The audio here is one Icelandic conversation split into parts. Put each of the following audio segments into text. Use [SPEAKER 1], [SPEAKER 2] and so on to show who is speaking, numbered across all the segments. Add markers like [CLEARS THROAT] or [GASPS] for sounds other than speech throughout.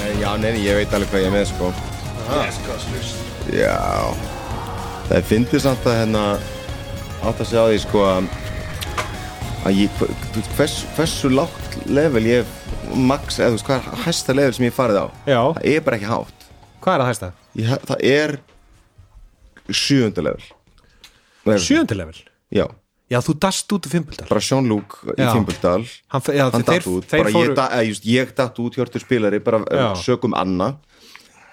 [SPEAKER 1] Nei, Já, neini, ég veit alveg hvað ég er með, sko.
[SPEAKER 2] Leskastlust
[SPEAKER 1] Já. Það er fyndið samt að hérna átt að segja á því, sko, að að ég, hva- þú veist, hvers, hversu lágt level ég hef max, eða þú veist, hvað er hæsta level sem ég hef farið á?
[SPEAKER 2] Já.
[SPEAKER 1] Það er bara ekki hátt.
[SPEAKER 2] Hvað er að hæsta?
[SPEAKER 1] Ég, hef- það er sjöunda level.
[SPEAKER 2] Sjöundi level
[SPEAKER 1] Já,
[SPEAKER 2] Já, þú dast út úr fimmbuldar
[SPEAKER 1] bara Sean Luke í
[SPEAKER 2] Já.
[SPEAKER 1] Fimbildal.
[SPEAKER 2] Hann, já,
[SPEAKER 1] hann
[SPEAKER 2] þeir,
[SPEAKER 1] datt út,
[SPEAKER 2] þeir
[SPEAKER 1] bara ég,
[SPEAKER 2] fóru,
[SPEAKER 1] da, eða, just, ég datt út hjörtur spilari, bara
[SPEAKER 2] Já.
[SPEAKER 1] já. sökum Anna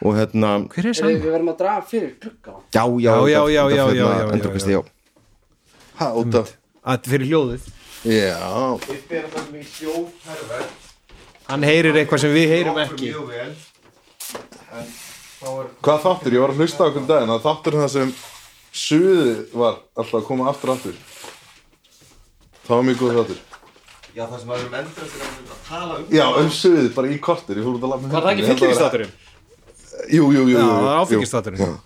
[SPEAKER 1] og hérna,
[SPEAKER 2] Hver er
[SPEAKER 3] Við
[SPEAKER 2] sann?
[SPEAKER 3] við verðum að draga fyrir klukka
[SPEAKER 1] já, já,
[SPEAKER 2] Já, já,
[SPEAKER 1] þetta-
[SPEAKER 2] já,
[SPEAKER 1] þetta
[SPEAKER 2] já,
[SPEAKER 1] fyrir
[SPEAKER 2] já,
[SPEAKER 1] hérna
[SPEAKER 2] já, já,
[SPEAKER 1] endurkasti,
[SPEAKER 2] já.
[SPEAKER 1] já.
[SPEAKER 4] Ha, út af
[SPEAKER 2] Að fyrir hljóðið
[SPEAKER 4] Já,
[SPEAKER 2] Hann heyrir eitthvað sem við heyrum ekki
[SPEAKER 4] hvað þáttur? Ég var að hlusta okkur um daginn að þáttur það sem suðið var alltaf að koma aftur og aftur Það var mjög góð þáttur
[SPEAKER 1] Já, það sem að við erum endrast að tala um
[SPEAKER 4] Já, um suðið, bara í kortir, ég fór út að lafa með
[SPEAKER 2] Var það ekki
[SPEAKER 4] hundinn. Ég held að vera-
[SPEAKER 2] fyllingstáturinn?
[SPEAKER 4] Jú, jú, jú, jú
[SPEAKER 2] Já,
[SPEAKER 4] jú.
[SPEAKER 2] það er áfengistáturinn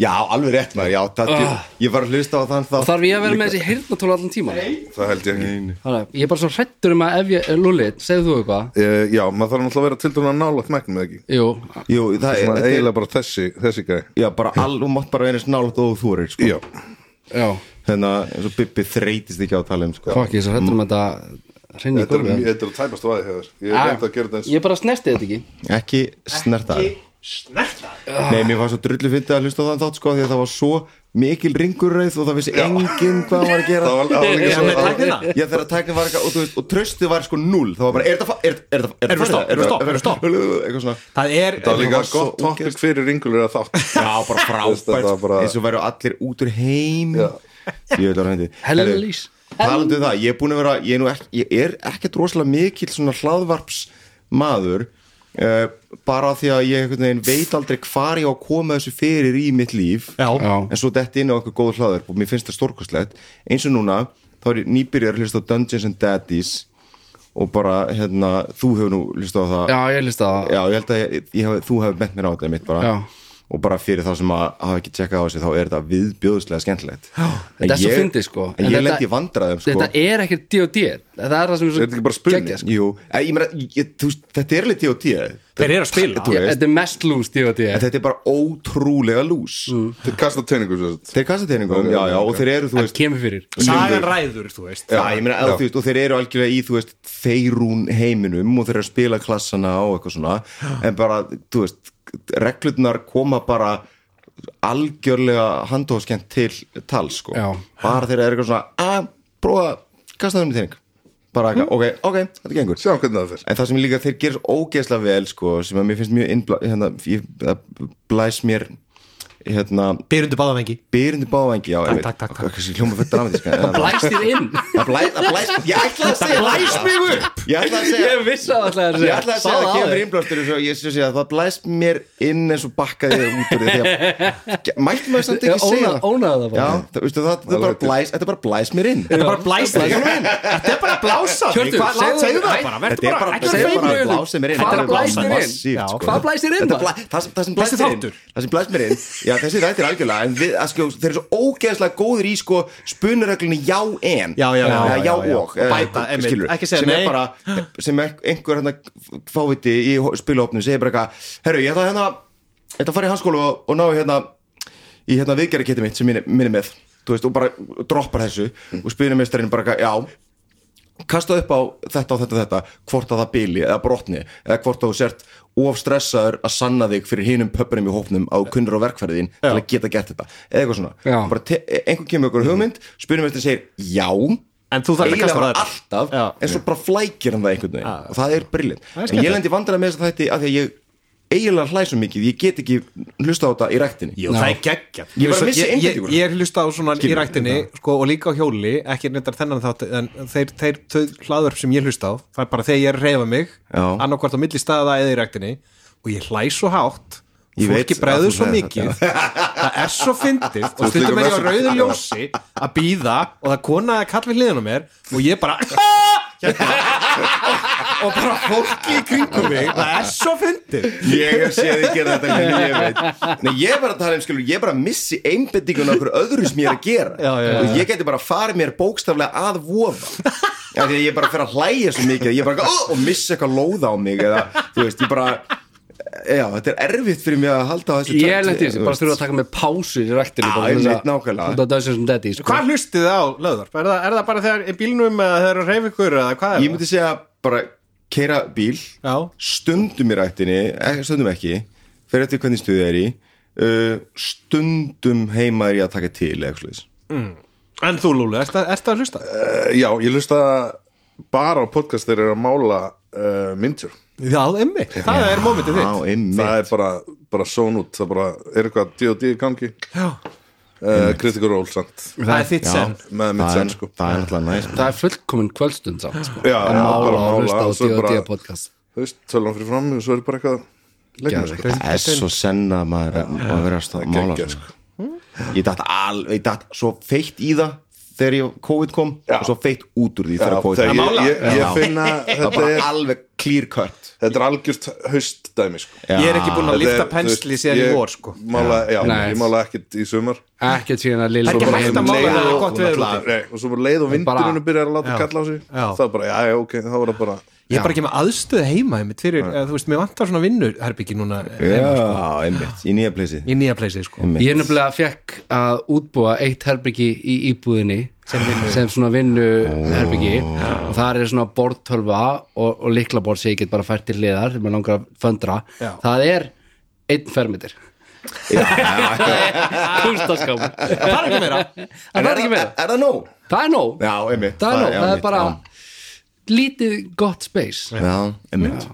[SPEAKER 1] Já, alveg rétt maður, já, það, ég, ég var að hlusta á þann þá
[SPEAKER 3] Ah. Þarf ég að vera með þessi hirtnatóla allan tíma?
[SPEAKER 4] Það held ég ekki
[SPEAKER 3] Þannig, ég er bara svo hrættur um að ef ég, Lulli, segðu þú eitthvað?
[SPEAKER 4] Eh, Já, maður þarf náttúrulega að vera til dæmis að nálaðt mæknum eða ekki
[SPEAKER 3] Jú,
[SPEAKER 1] Jú, það
[SPEAKER 4] Svona
[SPEAKER 1] er,
[SPEAKER 4] eiginlega bara þessi, þessi gæ
[SPEAKER 1] já, bara all, þú mátt bara einast nálaðt og þú erir, sko
[SPEAKER 4] Já,
[SPEAKER 3] já,
[SPEAKER 1] Þannig að eins og Bibbi þreytist ekki á að tala um, sko
[SPEAKER 3] fokk, ég er svo hrættur um að þetta hrinni í
[SPEAKER 4] þetta er,
[SPEAKER 3] gólfið.
[SPEAKER 4] mjög- þetta er tæpast vaði hefur Ég
[SPEAKER 3] Ah,
[SPEAKER 4] er reynd að gera þetta eins
[SPEAKER 3] Ég bara snerti þetta ekki.
[SPEAKER 1] Ekki snerta Ekki snerta Nei, mér var svo drullu fyndið að hlusta á þann þátt, sko Því að það var svo mikil ringurreið og það vissi enginn hvað hann var að gera
[SPEAKER 4] Það var, það var líka
[SPEAKER 2] Já, með
[SPEAKER 4] svo
[SPEAKER 2] tæknina
[SPEAKER 1] Já þegar tæknin var eitthvað og, þú veist, og tröstið var sko null Það var bara, er þetta fa- er- er þetta- er
[SPEAKER 2] Erum við stopp,
[SPEAKER 1] þetta
[SPEAKER 2] erum við stopp,
[SPEAKER 1] farið?
[SPEAKER 2] erum
[SPEAKER 1] Eitthvað
[SPEAKER 2] við stopp?
[SPEAKER 1] svona
[SPEAKER 2] Það er
[SPEAKER 4] Það var líka
[SPEAKER 1] var svo
[SPEAKER 4] gott topic fyrir ringulur að þátt
[SPEAKER 1] Já, bara
[SPEAKER 4] Þetta var
[SPEAKER 1] frábært
[SPEAKER 4] bara-
[SPEAKER 1] eins og væru allir út úr heim
[SPEAKER 4] Já.
[SPEAKER 1] Ég veit að hændi
[SPEAKER 3] Hellís.
[SPEAKER 1] Talandi um það, ég er búin að vera ég er, nú ekki, ég er ekkert rosalega mikill svona hlaðvarps maður uh, bara af því að ég einhvern veginn veit aldrei hvar ég á að koma þessu fyrir í mitt líf
[SPEAKER 2] Já,
[SPEAKER 3] Já.
[SPEAKER 1] en svo detti inn á okkur góð hlaðvarp og mér finnst það stórkostlegt eins og núna, þá er ég nýbyrjar að hlusta á Dungeons and Daddies og bara, hérna, þú hefur nú hlusta á það
[SPEAKER 3] Já, ég líst að
[SPEAKER 1] Já, ég held að ég, ég hef, þú hefur bent mér á þetta mitt bara
[SPEAKER 3] Já.
[SPEAKER 1] og bara fyrir þá sem að hafa ekki tjekkað á þessu þá er þetta viðbjóðslega skemmtilegt Já,
[SPEAKER 3] Þetta er svo fyndið, sko. En
[SPEAKER 1] En ég
[SPEAKER 3] þetta-
[SPEAKER 1] lendi í vandræðum sko
[SPEAKER 3] Þetta er ekkert D&D Það er það sem er
[SPEAKER 4] Er þetta ekki bara spuni?
[SPEAKER 3] geggjað, sko.
[SPEAKER 1] Jú, en ég meina, ég, þú, veist, þetta er litið á tíð
[SPEAKER 2] þeir eru að spila
[SPEAKER 1] Þú
[SPEAKER 3] Ég-
[SPEAKER 1] veist.
[SPEAKER 3] Þetta er Mm. mest lús D&D
[SPEAKER 1] en þetta er bara ótrúlega lús
[SPEAKER 4] Þeir kasta teiningum svo þetta
[SPEAKER 1] Þeir kasta teiningum, já, já, og þeir eru, þú
[SPEAKER 3] Það
[SPEAKER 1] veist
[SPEAKER 3] kemur fyrir
[SPEAKER 2] Sagan ræður, þú veist
[SPEAKER 1] Já, ég meina, eða, þú veist, og þeir eru algjörlega í, þú veist, þeirún heiminum og þeir eru að spila klassana og eitthvað svona, en bara, þú veist, reglurnar koma bara algjörlega handhóðskent til tal, sko.
[SPEAKER 3] Já.
[SPEAKER 1] Bara þeir eru eitthvað svona, að, prófa, kastaðu um þeining. Bara eitthvað, ok, ok, þetta gengur.
[SPEAKER 4] Sjáum hvernig það fer
[SPEAKER 1] En það sem líka þeir gerir svo ógeðslega vel, sko, sem að mér finnst mjög innbla, hérna, ég, það blæs mér, hérna,
[SPEAKER 2] Byrjundu báðamengi
[SPEAKER 1] byrjandi báðvengi, já,
[SPEAKER 2] takk, takk, takk.
[SPEAKER 1] Kanski hljóma fyrir dramatíska. en-
[SPEAKER 3] Blæst þér inn
[SPEAKER 1] Það blæ- það blæst, ég ætlaði að segja það blæst mig upp Ég ætlaði að segja
[SPEAKER 3] Ég vissi að alltaf
[SPEAKER 1] Ég ætlaði að segja að það kemur innblástur og svo ég sé að það blæst mér inn eins og bakkaði það út úr því að mætti maður samt ekki segja það
[SPEAKER 3] Ónaði það
[SPEAKER 1] Já, það,
[SPEAKER 3] bara
[SPEAKER 1] veistu, það, það bara blæst, þetta bara blæst mér inn
[SPEAKER 2] Þetta er bara blæst þig Þetta er bara að blása þig
[SPEAKER 3] Hjörtur,
[SPEAKER 2] Hvað
[SPEAKER 3] segðu-
[SPEAKER 2] segðu það
[SPEAKER 3] Nei,
[SPEAKER 2] bara
[SPEAKER 1] Þetta
[SPEAKER 2] Vertu
[SPEAKER 1] er
[SPEAKER 2] bara
[SPEAKER 1] bara,
[SPEAKER 2] ekki að
[SPEAKER 3] segðu
[SPEAKER 1] þetta er
[SPEAKER 2] feima
[SPEAKER 1] bara að blása mér inn
[SPEAKER 3] bara- Þetta er að blæst mér inn.
[SPEAKER 1] massíft,
[SPEAKER 2] Já.
[SPEAKER 1] sko.
[SPEAKER 3] Hvað blæst þér inn,
[SPEAKER 1] Þetta
[SPEAKER 3] maður?
[SPEAKER 1] blæ- Það sem- það sem
[SPEAKER 2] Þessi
[SPEAKER 1] blæst mér inn
[SPEAKER 2] þáttur.
[SPEAKER 1] Það sem blæst mér inn Já, þessi þættir algjörlega En við, að skjó, þeir eru svo ógeðslega góðir í sko spunuröglunni já en
[SPEAKER 2] Já, já, já,
[SPEAKER 1] Eða
[SPEAKER 2] já, já.
[SPEAKER 1] og eða,
[SPEAKER 2] Bæta, einmitt.
[SPEAKER 1] skilur,
[SPEAKER 2] Ekki segja
[SPEAKER 1] sem
[SPEAKER 2] nei.
[SPEAKER 1] er bara, sem er einhver hérna fáviti í hó- spilahópnum segir bara eitthvað Herru, ég ætla hérna Ég ætla að fara í hanskólu og, og ná í hérna í hérna viðgerðaketti mitt sem minni, minni með þú veist, og bara droppar þessu og spilumestarinn bara, eitthvað, já kasta upp á þetta og þetta og þetta hvort að það bili eða brotni eða hvort að þú sért of stressaður að sanna þig fyrir hinum pöpunum í hópnum á kunnur á verkfæriðin til að geta gert þetta eða eitthvað svona,
[SPEAKER 3] Já.
[SPEAKER 1] bara te- e- einhver kemur ykkur hugmynd spilumestarinn segir já
[SPEAKER 2] En þú þarf að
[SPEAKER 1] eiginlega
[SPEAKER 2] kasta
[SPEAKER 1] bara
[SPEAKER 2] bara þér
[SPEAKER 1] alltaf
[SPEAKER 2] Já.
[SPEAKER 1] en svo bara flækir hann það einhvern veginn og það er brillin
[SPEAKER 2] er
[SPEAKER 1] en
[SPEAKER 2] skemmtilegt.
[SPEAKER 1] ég lendi vandræði með þess að þetta af því að ég eiginlega hlæsum mikið, ég get ekki hlusta á þetta í ræktinni
[SPEAKER 2] Jú, það er geggjart
[SPEAKER 1] Ég var að missa
[SPEAKER 2] ég,
[SPEAKER 1] einbeitinguna.
[SPEAKER 2] ég hlusta á svona í ræktinni sko, og líka á hjóli, ekki neitt þennan þátt en þeir, þeir, þau hlaðvörf sem ég hlusta á það er bara þegar ég er að reyfa mig
[SPEAKER 1] Já.
[SPEAKER 2] annarkvort á milli staða eða í ræktinni og ég hlæ svo hátt
[SPEAKER 1] Ég
[SPEAKER 2] fólki
[SPEAKER 1] veit að
[SPEAKER 2] bregður
[SPEAKER 1] þú
[SPEAKER 2] svo
[SPEAKER 1] sagðir
[SPEAKER 2] mikið [LAUGHS] það er svo fyndið og
[SPEAKER 4] líka
[SPEAKER 2] stundum er ég á
[SPEAKER 4] með
[SPEAKER 2] rauðu ljósi að býða og það er kona að kalla við hliðinu á mér og ég [LAUGHS] bara hérna. og, og bara fólki í kringum mig það er svo fyndið
[SPEAKER 1] Ég hef séð þið gera þetta Lilja, ég veit Nei, ég var að tala um skilur, ég bara missi einbendingun á okkur öðru sem ég er að gera
[SPEAKER 2] Já, já, já.
[SPEAKER 1] og ég geti bara farið mér bókstaflega að vofa Já, því að ég bara fer að hlæja svo mikið ég bara, oh, og missa eitthvað lóða á mig eða, þú veist, ég bara Já, þetta er erfitt fyrir mig að halda á þessu
[SPEAKER 3] Ég er
[SPEAKER 1] tvennt,
[SPEAKER 3] lendið þessi,
[SPEAKER 1] þú
[SPEAKER 3] bara
[SPEAKER 1] veist.
[SPEAKER 3] þurfa að taka með pásu í ræktinu
[SPEAKER 1] Já,
[SPEAKER 3] bara
[SPEAKER 1] ég
[SPEAKER 3] svona-
[SPEAKER 1] veit nákvæmlega.
[SPEAKER 3] svona Dungeons and Daddies sko.
[SPEAKER 2] Hvað hlustið þið á löðvarp? Er, það- er það bara þegar í bílnum eða þegar að reyfi ykkur eða hvað er
[SPEAKER 1] Ég myndi segja bara keira bíl
[SPEAKER 2] það? Já,
[SPEAKER 1] stundum í rættinni ekki- stundum ekki, fer eftir hvernig stuðið er í uh, stundum heima er ég að taka til eða eitthvað svoleiðis.
[SPEAKER 2] en þú Lúli, ert það, ert það að hlusta?
[SPEAKER 4] Eh, Já, ég hlusta bara á podcast þeir eru að mála uh, myndir
[SPEAKER 2] Já, emmi, það er mómentið
[SPEAKER 1] Já,
[SPEAKER 2] þitt
[SPEAKER 1] einmitt
[SPEAKER 4] Það er bara, bara són út Það bara er eitthvað D&D í gangi
[SPEAKER 2] Já,
[SPEAKER 4] uh, Critical Role samt
[SPEAKER 2] það er þitt sen
[SPEAKER 4] Með mitt
[SPEAKER 1] það er,
[SPEAKER 4] sen sko
[SPEAKER 1] það er alltaf næst
[SPEAKER 3] Það er fullkomin kvöldstund samt sko.
[SPEAKER 4] Já,
[SPEAKER 3] Að
[SPEAKER 4] já,
[SPEAKER 3] mála
[SPEAKER 4] bara
[SPEAKER 3] og
[SPEAKER 4] mála
[SPEAKER 3] hlusta á
[SPEAKER 4] og svo bara-
[SPEAKER 3] D&D podcast
[SPEAKER 4] Þú veist, tölum fyrir fram og svo er bara eitthvað leiknir sko
[SPEAKER 1] það er svo senn að maður að vera að stað að mála
[SPEAKER 4] geggjað, sko.
[SPEAKER 1] svona.
[SPEAKER 3] Hmm.
[SPEAKER 1] ég datt al, ég datt svo feitt í það þegar ég COVID kom
[SPEAKER 4] Já.
[SPEAKER 1] og svo feitt út úr því þegar
[SPEAKER 4] Já,
[SPEAKER 1] COVID
[SPEAKER 4] þegar
[SPEAKER 1] kom
[SPEAKER 4] ég, ég, ég
[SPEAKER 1] Já.
[SPEAKER 4] finn að
[SPEAKER 1] það
[SPEAKER 4] þetta
[SPEAKER 1] var
[SPEAKER 4] er,
[SPEAKER 1] alveg clear cut
[SPEAKER 4] þetta er algjört haustdæmi sko.
[SPEAKER 2] Ég er ekki búin að
[SPEAKER 4] Þetta
[SPEAKER 2] lifta
[SPEAKER 4] er, þú
[SPEAKER 2] pensli
[SPEAKER 4] veist,
[SPEAKER 2] sér í
[SPEAKER 4] ég
[SPEAKER 2] vor sko
[SPEAKER 4] mála, já,
[SPEAKER 3] Nei.
[SPEAKER 4] ég mála ekkert í sumar
[SPEAKER 3] Ekki síðan að Lili
[SPEAKER 2] Ekki
[SPEAKER 3] kom
[SPEAKER 2] hægt
[SPEAKER 3] heim.
[SPEAKER 2] að mála
[SPEAKER 4] leið
[SPEAKER 2] þegar það er
[SPEAKER 4] og-
[SPEAKER 2] gott veður úti
[SPEAKER 4] Nei, og svo bara leið og
[SPEAKER 3] Bara-
[SPEAKER 4] vindurinn byrjar að láta
[SPEAKER 2] Já.
[SPEAKER 4] kalla á sig
[SPEAKER 2] Já.
[SPEAKER 4] það var bara, já, já, ok, þá var það bara
[SPEAKER 2] Ég er bara ekki með aðstöð heima einmitt fyrir, eða, þú veist, mér vantar svona vinnur herbyggi núna
[SPEAKER 1] já,
[SPEAKER 2] heima,
[SPEAKER 1] einmitt, sko. í nýja pleysið
[SPEAKER 2] í nýja pleysið sko
[SPEAKER 1] Einmitt.
[SPEAKER 3] Ég nefnilega fekk að útbúa eitt herbyggi í íbúðinni sem, svona vinnu herbyggi og þar er svona borðtölva og, og líklaborð sem ég get bara fært til liðar sem er langar að föndra
[SPEAKER 2] Já.
[SPEAKER 3] það er einn fermitir [LAUGHS] kunstaskap það
[SPEAKER 2] Það er ekki meira
[SPEAKER 3] er ekki meira,
[SPEAKER 1] er það nóg?
[SPEAKER 3] það er nóg
[SPEAKER 1] já, einmitt
[SPEAKER 3] það er
[SPEAKER 1] já,
[SPEAKER 3] nóg, það
[SPEAKER 1] einmitt,
[SPEAKER 3] er bara
[SPEAKER 1] já.
[SPEAKER 3] lítið gott space
[SPEAKER 1] Já, einmitt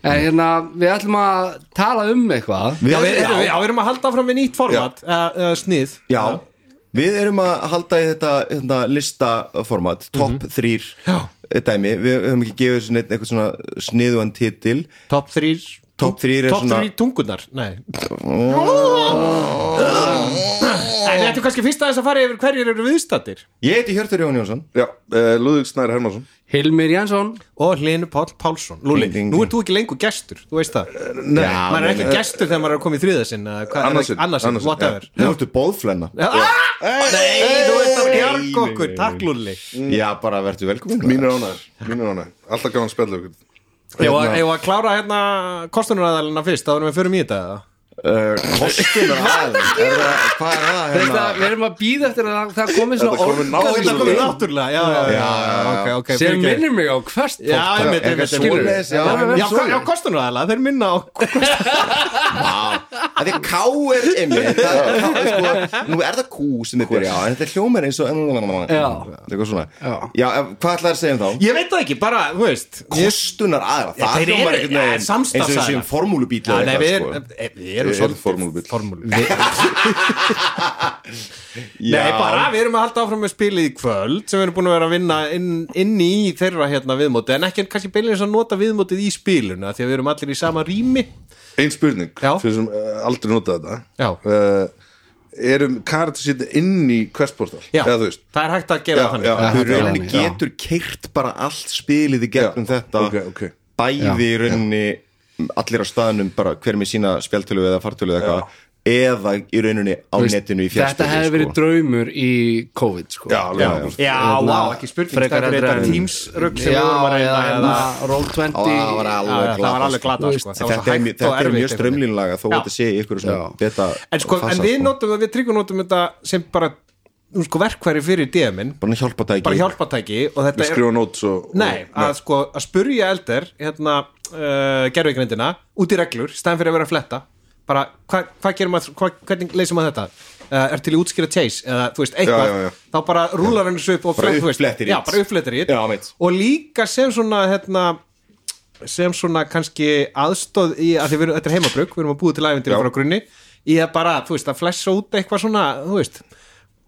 [SPEAKER 3] en hérna, við ætlum að tala um eitthvað
[SPEAKER 2] Já, við, já. já, við erum að halda fram með nýtt format eða, eða snið
[SPEAKER 1] já, við erum að halda í þetta, þetta listaformat
[SPEAKER 3] Mhm.
[SPEAKER 1] top mm
[SPEAKER 2] Já.
[SPEAKER 1] Eh, dæmi við höfum ekki gefið þessu neitt eitthvað svona sniðuan titil
[SPEAKER 2] Top 3
[SPEAKER 1] Top þrír er
[SPEAKER 2] Top
[SPEAKER 1] svona-
[SPEAKER 2] 3 tungunar, nei En þetta er kannski fyrst aðeins að fara yfir hverjir eru viðstattir
[SPEAKER 1] Ég heiti Hjörtur Jón Jónsson
[SPEAKER 4] já, uh, Lúðvík Snær Hermansson
[SPEAKER 3] Hilmir Jansson
[SPEAKER 2] Og Hlynur Páll Pálsson Lúli,
[SPEAKER 1] Ding, ding,
[SPEAKER 2] nú ert þú ekki lengur gestur, þú veist það
[SPEAKER 4] Nei,
[SPEAKER 1] Já,
[SPEAKER 2] Maður er
[SPEAKER 1] nei,
[SPEAKER 2] ekki
[SPEAKER 1] nei.
[SPEAKER 2] gestur þegar maður er að koma í þriðasinn
[SPEAKER 4] Annarsinn,
[SPEAKER 2] Annarsinn,
[SPEAKER 4] annarsinn,
[SPEAKER 2] whatever
[SPEAKER 1] Nú ertu bóðflenna
[SPEAKER 2] Ah, Nei, þú ert að bjarga okkur, takk Lúli
[SPEAKER 1] Já, bara verður velkomin
[SPEAKER 4] mínir ánæður, mínir ánæður alltaf gaman spjallu ykkur
[SPEAKER 2] Ég var að klára hérna kostunaraðalina fyrst, þá erum við fyrir mjög þetta eða?
[SPEAKER 1] uh, Kostum er aðeins Er það- Hvað er það?
[SPEAKER 3] Veist
[SPEAKER 1] hérna?
[SPEAKER 3] það, við erum að býða eftir að það- það komi svona
[SPEAKER 4] Þetta komi
[SPEAKER 3] orð-
[SPEAKER 4] náttúrulega.
[SPEAKER 2] Þetta komið náttúrulega, já, já, já, já, ok, ok
[SPEAKER 3] sem
[SPEAKER 2] fyrirgefðu.
[SPEAKER 3] minnir mig á hvert
[SPEAKER 2] Já,
[SPEAKER 3] podcast.
[SPEAKER 2] einmitt,
[SPEAKER 1] eitthvað
[SPEAKER 2] einmitt,
[SPEAKER 1] svoleiðis,
[SPEAKER 2] einmitt.
[SPEAKER 1] já,
[SPEAKER 2] já,
[SPEAKER 1] einmitt
[SPEAKER 2] já,
[SPEAKER 1] svoleiðis.
[SPEAKER 2] já, kostunaraðala, þeir minna á
[SPEAKER 1] Það er K er einmitt það er K, sko, Nú er það Q sem þið byrja á En þetta er hljómer eins og
[SPEAKER 3] Já.
[SPEAKER 1] Þetta er eitthvað svona
[SPEAKER 3] Já.
[SPEAKER 1] Já, ef- hvað ætlaði að segja um þá?
[SPEAKER 2] Ég veit það ekki, bara, þú veist ég-
[SPEAKER 1] kostunar aðra
[SPEAKER 2] Já,
[SPEAKER 1] það
[SPEAKER 2] þeir
[SPEAKER 1] hljómar
[SPEAKER 2] eru-
[SPEAKER 1] einhvern veginn
[SPEAKER 2] ja,
[SPEAKER 1] eins og við
[SPEAKER 2] samstarfsaðilar.
[SPEAKER 1] séum formúlubíl
[SPEAKER 2] Já,
[SPEAKER 1] eða
[SPEAKER 2] nei, við
[SPEAKER 1] eitthvað,
[SPEAKER 2] erum-
[SPEAKER 1] sko.
[SPEAKER 2] e- við erum
[SPEAKER 4] er
[SPEAKER 2] svolítið
[SPEAKER 4] formúlubill.
[SPEAKER 2] formúlubill. [LAUGHS] Nei,
[SPEAKER 1] Já.
[SPEAKER 2] bara, við erum að halda áfram með spilið í kvöld sem við erum búin að vera að vinna inn, inn í þeirra hérna viðmóti, en ekki kannski beinlega að nota viðmótið í spiluna, því að við erum allir í sama rými
[SPEAKER 4] ein spurning,
[SPEAKER 2] Já.
[SPEAKER 4] fyrir sem uh, aldrei nota
[SPEAKER 2] Já.
[SPEAKER 4] þetta uh, erum karakter sýtti inn í questportal
[SPEAKER 2] Já,
[SPEAKER 4] eða þú veist
[SPEAKER 2] það er hægt að gera
[SPEAKER 4] Já,
[SPEAKER 2] það þannig
[SPEAKER 4] já.
[SPEAKER 1] þú í
[SPEAKER 3] Já,
[SPEAKER 1] rauninni
[SPEAKER 3] já.
[SPEAKER 1] getur keirt bara allt spilið í gegnum
[SPEAKER 4] Já,
[SPEAKER 1] þetta
[SPEAKER 4] ok, ok.
[SPEAKER 1] bæði í rauninni allir á staðanum bara hver með sína spjaltölu eða fartölu eða eitthvað eða í rauninni á
[SPEAKER 3] Þú veist,
[SPEAKER 1] netinu í sko.
[SPEAKER 3] þetta
[SPEAKER 1] fjallstölu
[SPEAKER 3] hefði verið draumur í COVID sko.
[SPEAKER 4] já, alveg, já,
[SPEAKER 2] Já,
[SPEAKER 3] Hérna,
[SPEAKER 2] vá, ekki spurning,
[SPEAKER 3] frekar
[SPEAKER 2] það er
[SPEAKER 3] heldur
[SPEAKER 2] þetta
[SPEAKER 3] en-
[SPEAKER 2] Teams-rugl sem
[SPEAKER 3] já,
[SPEAKER 2] við vorum að hérna. reyna,
[SPEAKER 3] já,
[SPEAKER 2] eða-
[SPEAKER 3] já, Roll20
[SPEAKER 1] það var
[SPEAKER 2] Já, já,
[SPEAKER 1] alveg
[SPEAKER 2] það var
[SPEAKER 1] glata
[SPEAKER 2] alveg glata,
[SPEAKER 3] Þú
[SPEAKER 2] sko.
[SPEAKER 3] veist,
[SPEAKER 2] það var svo
[SPEAKER 1] þetta er
[SPEAKER 2] hægt
[SPEAKER 1] mjög-
[SPEAKER 2] og
[SPEAKER 1] þetta er mjög
[SPEAKER 2] erfitt einhvern veginn.
[SPEAKER 1] strömlinlaga þó
[SPEAKER 2] Já.
[SPEAKER 1] þetta sé í ykkur svona beta
[SPEAKER 2] En, sko,
[SPEAKER 1] fasa,
[SPEAKER 2] en við
[SPEAKER 1] sko.
[SPEAKER 2] notum, við tryggur notum þetta sem bara nú, sko, verkværi fyrir DM-in
[SPEAKER 1] sko. bara hjálpa það
[SPEAKER 2] bara
[SPEAKER 1] ekki
[SPEAKER 2] hjálpatæki og þetta
[SPEAKER 4] við
[SPEAKER 2] er
[SPEAKER 4] skrifa nót svo
[SPEAKER 2] Nei, að sko að spurja eldir hérna uh, gerðvigrindina út í reglur, stæðan fyrir að vera að fletta bara hva, hvað gerum að hva, hvernig leysum að þetta, uh, er til í útskýra chase eða þú veist, eitthvað,
[SPEAKER 4] Já, já, já.
[SPEAKER 2] þá bara rúlar henni svo upp og
[SPEAKER 1] Bara
[SPEAKER 2] þú veist,
[SPEAKER 1] uppflettir í.
[SPEAKER 2] já, bara uppflettir í
[SPEAKER 1] Já, mitt.
[SPEAKER 2] og líka sem svona hérna sem svona kannski aðstóð í að því við erum, þetta er heimabrug, við erum að búið til æfindir frá grunni, í að bara, þú veist, að flessa út eitthvað svona, þú veist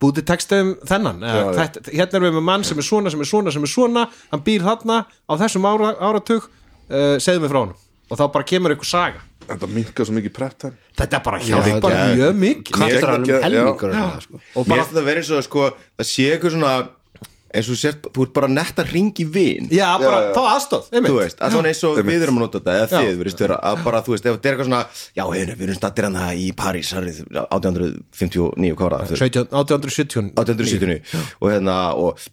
[SPEAKER 2] búið til textum þennan já,
[SPEAKER 4] Já, já.
[SPEAKER 2] þetta, hérna erum við með mann sem er svona, sem er svona, sem er svona hann býr þarna á þessum ára, áratug uh, segðu mig frá hann og þá bara kemur ykkur saga
[SPEAKER 4] Þetta minkar svo mikið prep time
[SPEAKER 2] þetta er bara
[SPEAKER 3] Já,
[SPEAKER 2] hjálpar
[SPEAKER 3] þetta er-
[SPEAKER 2] mjög mikið
[SPEAKER 4] Ég-
[SPEAKER 3] kvartar alveg
[SPEAKER 4] já.
[SPEAKER 3] um helmingur já, sko.
[SPEAKER 1] og bara þetta verið svo að sko það sé eitthvað svona eins og þú sért, þú ert bara nett að ringi vin
[SPEAKER 2] já, bara,
[SPEAKER 4] já.
[SPEAKER 2] þá aðstóð, einmitt
[SPEAKER 1] þú veist, að svona eins og við erum að nota þetta eða
[SPEAKER 2] Já.
[SPEAKER 1] þið, verðist vera, að bara þú veist ef þetta er eitthvað svona, já, heyrðu, við erum stattir hann í París árið 1859 hvað var það?
[SPEAKER 2] 17, 1870
[SPEAKER 1] 1870 og hérna og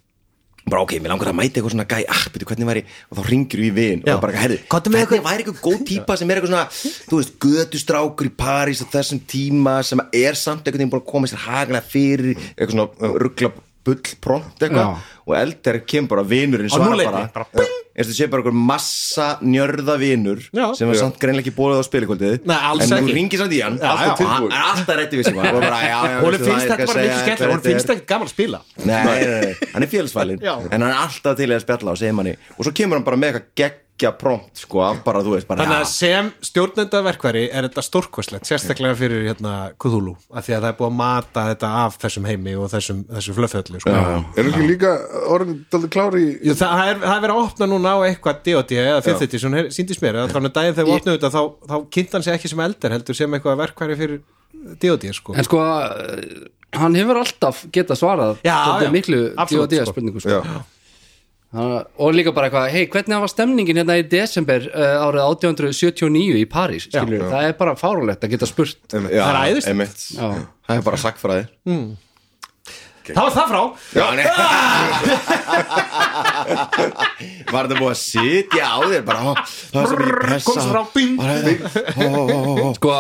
[SPEAKER 1] bara ok, mér langar að mæta eitthvað svona gæ ah, byrju, hvernig væri, og þá ringir við í vin
[SPEAKER 2] Já.
[SPEAKER 1] og bara, herri,
[SPEAKER 2] Komdu með
[SPEAKER 1] hvernig væri eitthvað góð típa sem er eitthvað svona, þú veist, gödustrákur í París á þessum tíma sem er samt einhvern veginn búin að koma sér haglega fyrir eitthvað svona uh, ruggla bullpront
[SPEAKER 3] Já.
[SPEAKER 1] eitthvað, og eldar kemur bara vinurinn
[SPEAKER 2] Á
[SPEAKER 1] svara
[SPEAKER 2] núlleinni,
[SPEAKER 1] bara,
[SPEAKER 2] bara
[SPEAKER 1] Já. eins og þú sé bara einhver massa njörða vinur
[SPEAKER 2] Já.
[SPEAKER 1] sem var samt greinlega ekki búið á spilikvöldið
[SPEAKER 2] Nei, alls
[SPEAKER 1] en
[SPEAKER 2] ekki.
[SPEAKER 1] þú ringir samt í hann
[SPEAKER 2] Já,
[SPEAKER 1] alltaf
[SPEAKER 4] já.
[SPEAKER 1] tilbúin, hann er alltaf rétti við sem hann Og bara, já, já,
[SPEAKER 2] hún
[SPEAKER 1] veistu það,
[SPEAKER 2] finnst
[SPEAKER 1] ég skal
[SPEAKER 2] þetta bara
[SPEAKER 1] segja hver
[SPEAKER 2] mikið skemmtilega hún
[SPEAKER 1] þetta er.
[SPEAKER 2] finnst þetta gaman að spila
[SPEAKER 1] Nei, nei, nei, nei, hann er félagsfælin
[SPEAKER 2] Já.
[SPEAKER 1] En hann er alltaf til í að spjalla og segja manni Og svo kemur hann bara með eitthvað geggja prompt Sko, af bara, þú veist, bara
[SPEAKER 2] Þannig
[SPEAKER 1] ja,
[SPEAKER 2] að sem stjórnendaverkværi er þetta stórkvæslegt, sérstaklega fyrir hérna Cthulhu, af því að það er búið að mata þetta af þessum heimi og þessum, þessum flöfföllu, sko.
[SPEAKER 4] Erum ekki líka orðin daldi klári í
[SPEAKER 2] Jú, það, það er, það er verið að opna núna á eitthvað D.O.D. eða 50 sem her- síndist mér, eða þannig að daginn þegar við opnaðum þetta þá, þá kynnt hann sig ekki sem eldar heldur sem eitthvað verkværi fyrir D.O.D. sko.
[SPEAKER 3] en sko hann hefur alltaf getað svarað
[SPEAKER 2] Já,
[SPEAKER 3] dálítið
[SPEAKER 2] já.
[SPEAKER 3] miklu
[SPEAKER 2] Absolutt,
[SPEAKER 3] D&D
[SPEAKER 2] sko.
[SPEAKER 3] spurningu sko.
[SPEAKER 4] Já,
[SPEAKER 3] Hann- og líka bara eitthvað, hei hvernig var stemningin hérna í desember uh, árið 1879 í París skilur, það er bara fárulegt að geta spurt
[SPEAKER 4] einmitt.
[SPEAKER 1] já,
[SPEAKER 2] það er æðislegt.
[SPEAKER 1] einmitt.
[SPEAKER 3] Já.
[SPEAKER 1] Það er bara sagfræði
[SPEAKER 2] Það var það frá!
[SPEAKER 1] Já, nei [LAUGHS] Var þetta búið að sitja á þér bara ó, Það er svo mikið pressa
[SPEAKER 2] komst frá, bing.
[SPEAKER 1] Bara, ó, ó, ó, ó, ó.
[SPEAKER 3] sko,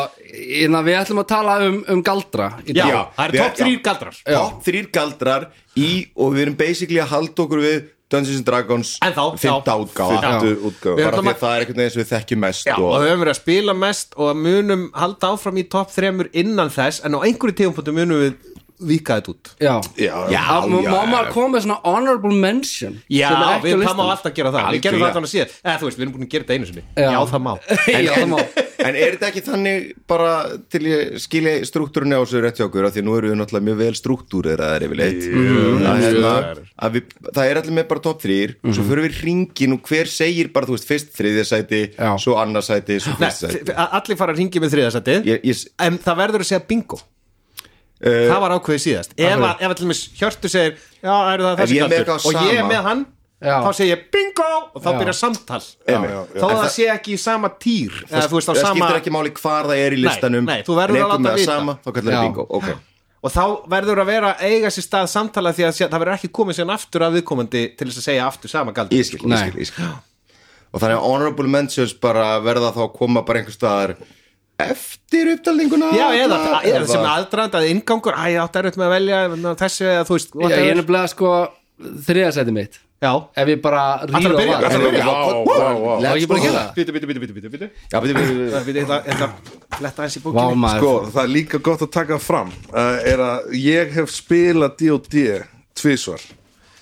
[SPEAKER 3] innan við ætlum að tala um, um galdra í
[SPEAKER 2] Já,
[SPEAKER 3] dag.
[SPEAKER 2] það eru
[SPEAKER 1] við-
[SPEAKER 2] topp þrýr galdrar.
[SPEAKER 1] Topp þrýr galdrar í Og við erum basically að halda okkur við Dungeons and Dragons
[SPEAKER 2] Ennþá, já.
[SPEAKER 1] fimmta útgáfa
[SPEAKER 4] Fimmtu útgáfa.
[SPEAKER 1] Bara
[SPEAKER 2] ætlum
[SPEAKER 1] því
[SPEAKER 2] að-
[SPEAKER 1] að það er einhvern veginn sem við þekkjum mest
[SPEAKER 2] Já, og við höfum verið að spila mest og munum halda áfram í topp þremur innan þess en á einhverju tíðumpunktum munum við vika þetta út
[SPEAKER 3] já,
[SPEAKER 4] Já,
[SPEAKER 1] Já,
[SPEAKER 3] Að má má maður koma með svona honorable mention
[SPEAKER 2] Já,
[SPEAKER 3] sem er ekki
[SPEAKER 2] við
[SPEAKER 3] á
[SPEAKER 2] það má
[SPEAKER 3] listanum?
[SPEAKER 2] alltaf gera það Við
[SPEAKER 1] Algjörlega.
[SPEAKER 2] gerum það þannig síðan Eða þú veist, við erum búin að gera þetta einu sinni Já,
[SPEAKER 3] Já.
[SPEAKER 2] það [LAUGHS] má
[SPEAKER 3] [LAUGHS] Já, það má
[SPEAKER 1] En er þetta ekki þannig bara til ég skilja struktúrinu á þessu rétt hjá okkur af því að nú eru við náttúrulega mjög vel struktúrir að það er yfirleitt að, hérna, að við, það er allir með bara top 3 svo förum við ringin og hver segir bara þú veist fyrst þriðja sæti,
[SPEAKER 3] Já.
[SPEAKER 1] svo annarsæti svo
[SPEAKER 2] Nei,
[SPEAKER 1] fyrst sæti
[SPEAKER 2] þi- Allir fara að ringi með þriðasætið
[SPEAKER 1] Ég- Eh, ég-
[SPEAKER 2] En það verður að segja bingo Það var ákveðið síðast Ef, að, ef allir með Hjörtu segir Já, það eru það
[SPEAKER 1] Ef
[SPEAKER 2] þessi
[SPEAKER 1] ég er með
[SPEAKER 2] galdur
[SPEAKER 1] eitthvað
[SPEAKER 2] Og ég er
[SPEAKER 1] sama-
[SPEAKER 2] með hann
[SPEAKER 3] Já.
[SPEAKER 2] Þá segir ég bingo Og þá
[SPEAKER 3] Já.
[SPEAKER 2] byrja samtal
[SPEAKER 1] Einmitt.
[SPEAKER 2] Þó að það sé ekki í sama týr Eða þú veist á
[SPEAKER 1] það
[SPEAKER 2] sama
[SPEAKER 1] skiptir ekki máli hvar það er í listanum
[SPEAKER 2] nei, þú verður
[SPEAKER 1] en
[SPEAKER 2] að
[SPEAKER 1] einhver
[SPEAKER 2] láta
[SPEAKER 1] með það
[SPEAKER 2] vita.
[SPEAKER 1] sama, þá kallar
[SPEAKER 3] Já.
[SPEAKER 1] það bingo okay.
[SPEAKER 2] og þá verður að vera að eiga sér stað samtala því að sé- það verður ekki komið síðan aftur að viðkomandi til þess að segja aftur sama galdur
[SPEAKER 1] ég skil, ég skil, ég skil og þannig að honorable mentions bara verða þá að koma bara einhver staðar eftir upptalninguna
[SPEAKER 2] Já, eða, eða sem
[SPEAKER 1] Eða-
[SPEAKER 2] aðdrand að inngangur, æ, ég átt erfitt með að velja ná, þessu eða þú veist
[SPEAKER 3] Já, ég er
[SPEAKER 2] whatever.
[SPEAKER 3] nefnilega sko þriðasæti mitt
[SPEAKER 2] Já,
[SPEAKER 3] ef ég bara
[SPEAKER 2] Ætlarðu
[SPEAKER 3] rýra
[SPEAKER 2] að byrja?
[SPEAKER 3] var
[SPEAKER 2] Ætlarðu
[SPEAKER 3] það
[SPEAKER 2] að byrja?
[SPEAKER 4] Vá, vá, vá
[SPEAKER 3] ekki búin að gera það
[SPEAKER 2] bítu, bítu, bítu, bítu, bítu, bítu
[SPEAKER 1] Já, byrju, byrju, byrju.
[SPEAKER 2] Við þetta fletta eins í
[SPEAKER 3] Vá
[SPEAKER 2] bókinni
[SPEAKER 3] maður,
[SPEAKER 4] Sko, það er líka gott að taka fram uh, er að ég hef spilað D&D tvisvar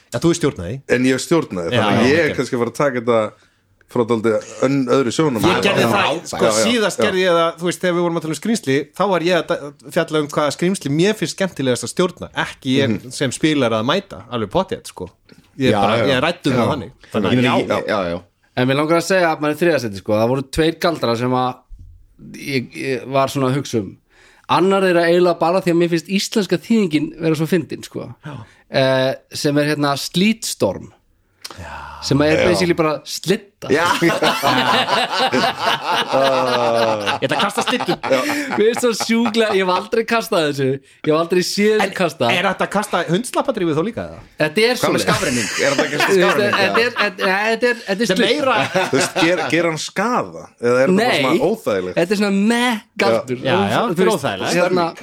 [SPEAKER 2] Já, þú er stjórnaði
[SPEAKER 4] en ég hef stjórnaði
[SPEAKER 2] Já,
[SPEAKER 4] þannig að
[SPEAKER 2] já,
[SPEAKER 4] ég
[SPEAKER 2] ok.
[SPEAKER 4] er kannski að fara að taka þetta frá daldið önn öðru sjónum
[SPEAKER 2] Ég gerði
[SPEAKER 4] Já,
[SPEAKER 2] það,
[SPEAKER 4] já,
[SPEAKER 2] sko
[SPEAKER 4] já, já,
[SPEAKER 2] síðast
[SPEAKER 4] já.
[SPEAKER 2] gerði ég það, þú veist, þegar við vorum að tala um skrýmsli þá var ég að fjalla um hvaða skrýmsli mér finnst skemmtilegast að stjórna, ekki ég sem spilar að mæta, alveg potið, sko Ég,
[SPEAKER 1] Já,
[SPEAKER 2] bara,
[SPEAKER 1] já.
[SPEAKER 2] ég rættu það þannig
[SPEAKER 1] Ég
[SPEAKER 2] Þannig
[SPEAKER 1] meina,
[SPEAKER 2] að
[SPEAKER 1] ég-
[SPEAKER 2] já,
[SPEAKER 1] já, já.
[SPEAKER 3] en mér langar að segja að maður er þriðasæti sko það voru tveir galdrar sem að ég, ég var svona að hugsa um annar er að eiginlega bara því að mér finnst íslenska þýðingin vera svo fyndin sko eh, sem er hérna slítstorm sem að er basically bara slitta
[SPEAKER 1] Já,
[SPEAKER 2] ég ætla að kasta slittum
[SPEAKER 3] [LAUGHS] Mér er svo sjúklega, ég hef aldrei kastað þessu Ég hef aldrei séð þessu kasta
[SPEAKER 2] Er þetta að kasta hundslappadrýfið þó líka eða?
[SPEAKER 3] Þetta er
[SPEAKER 1] hvað
[SPEAKER 3] svo
[SPEAKER 1] með skafrenning? Er það ekki skafrenning?
[SPEAKER 3] Þetta er, þetta er, þetta er, þetta er
[SPEAKER 2] Þetta er
[SPEAKER 3] slutt.
[SPEAKER 2] meira
[SPEAKER 4] Þú veist, ger, ger hann skaða eða er það bara
[SPEAKER 3] Nei,
[SPEAKER 4] svona óþægilegt
[SPEAKER 3] þetta er svona með galdur
[SPEAKER 2] Já, já, þetta
[SPEAKER 3] Þú
[SPEAKER 2] er
[SPEAKER 3] veist,
[SPEAKER 2] óþægilegt.
[SPEAKER 3] hérna,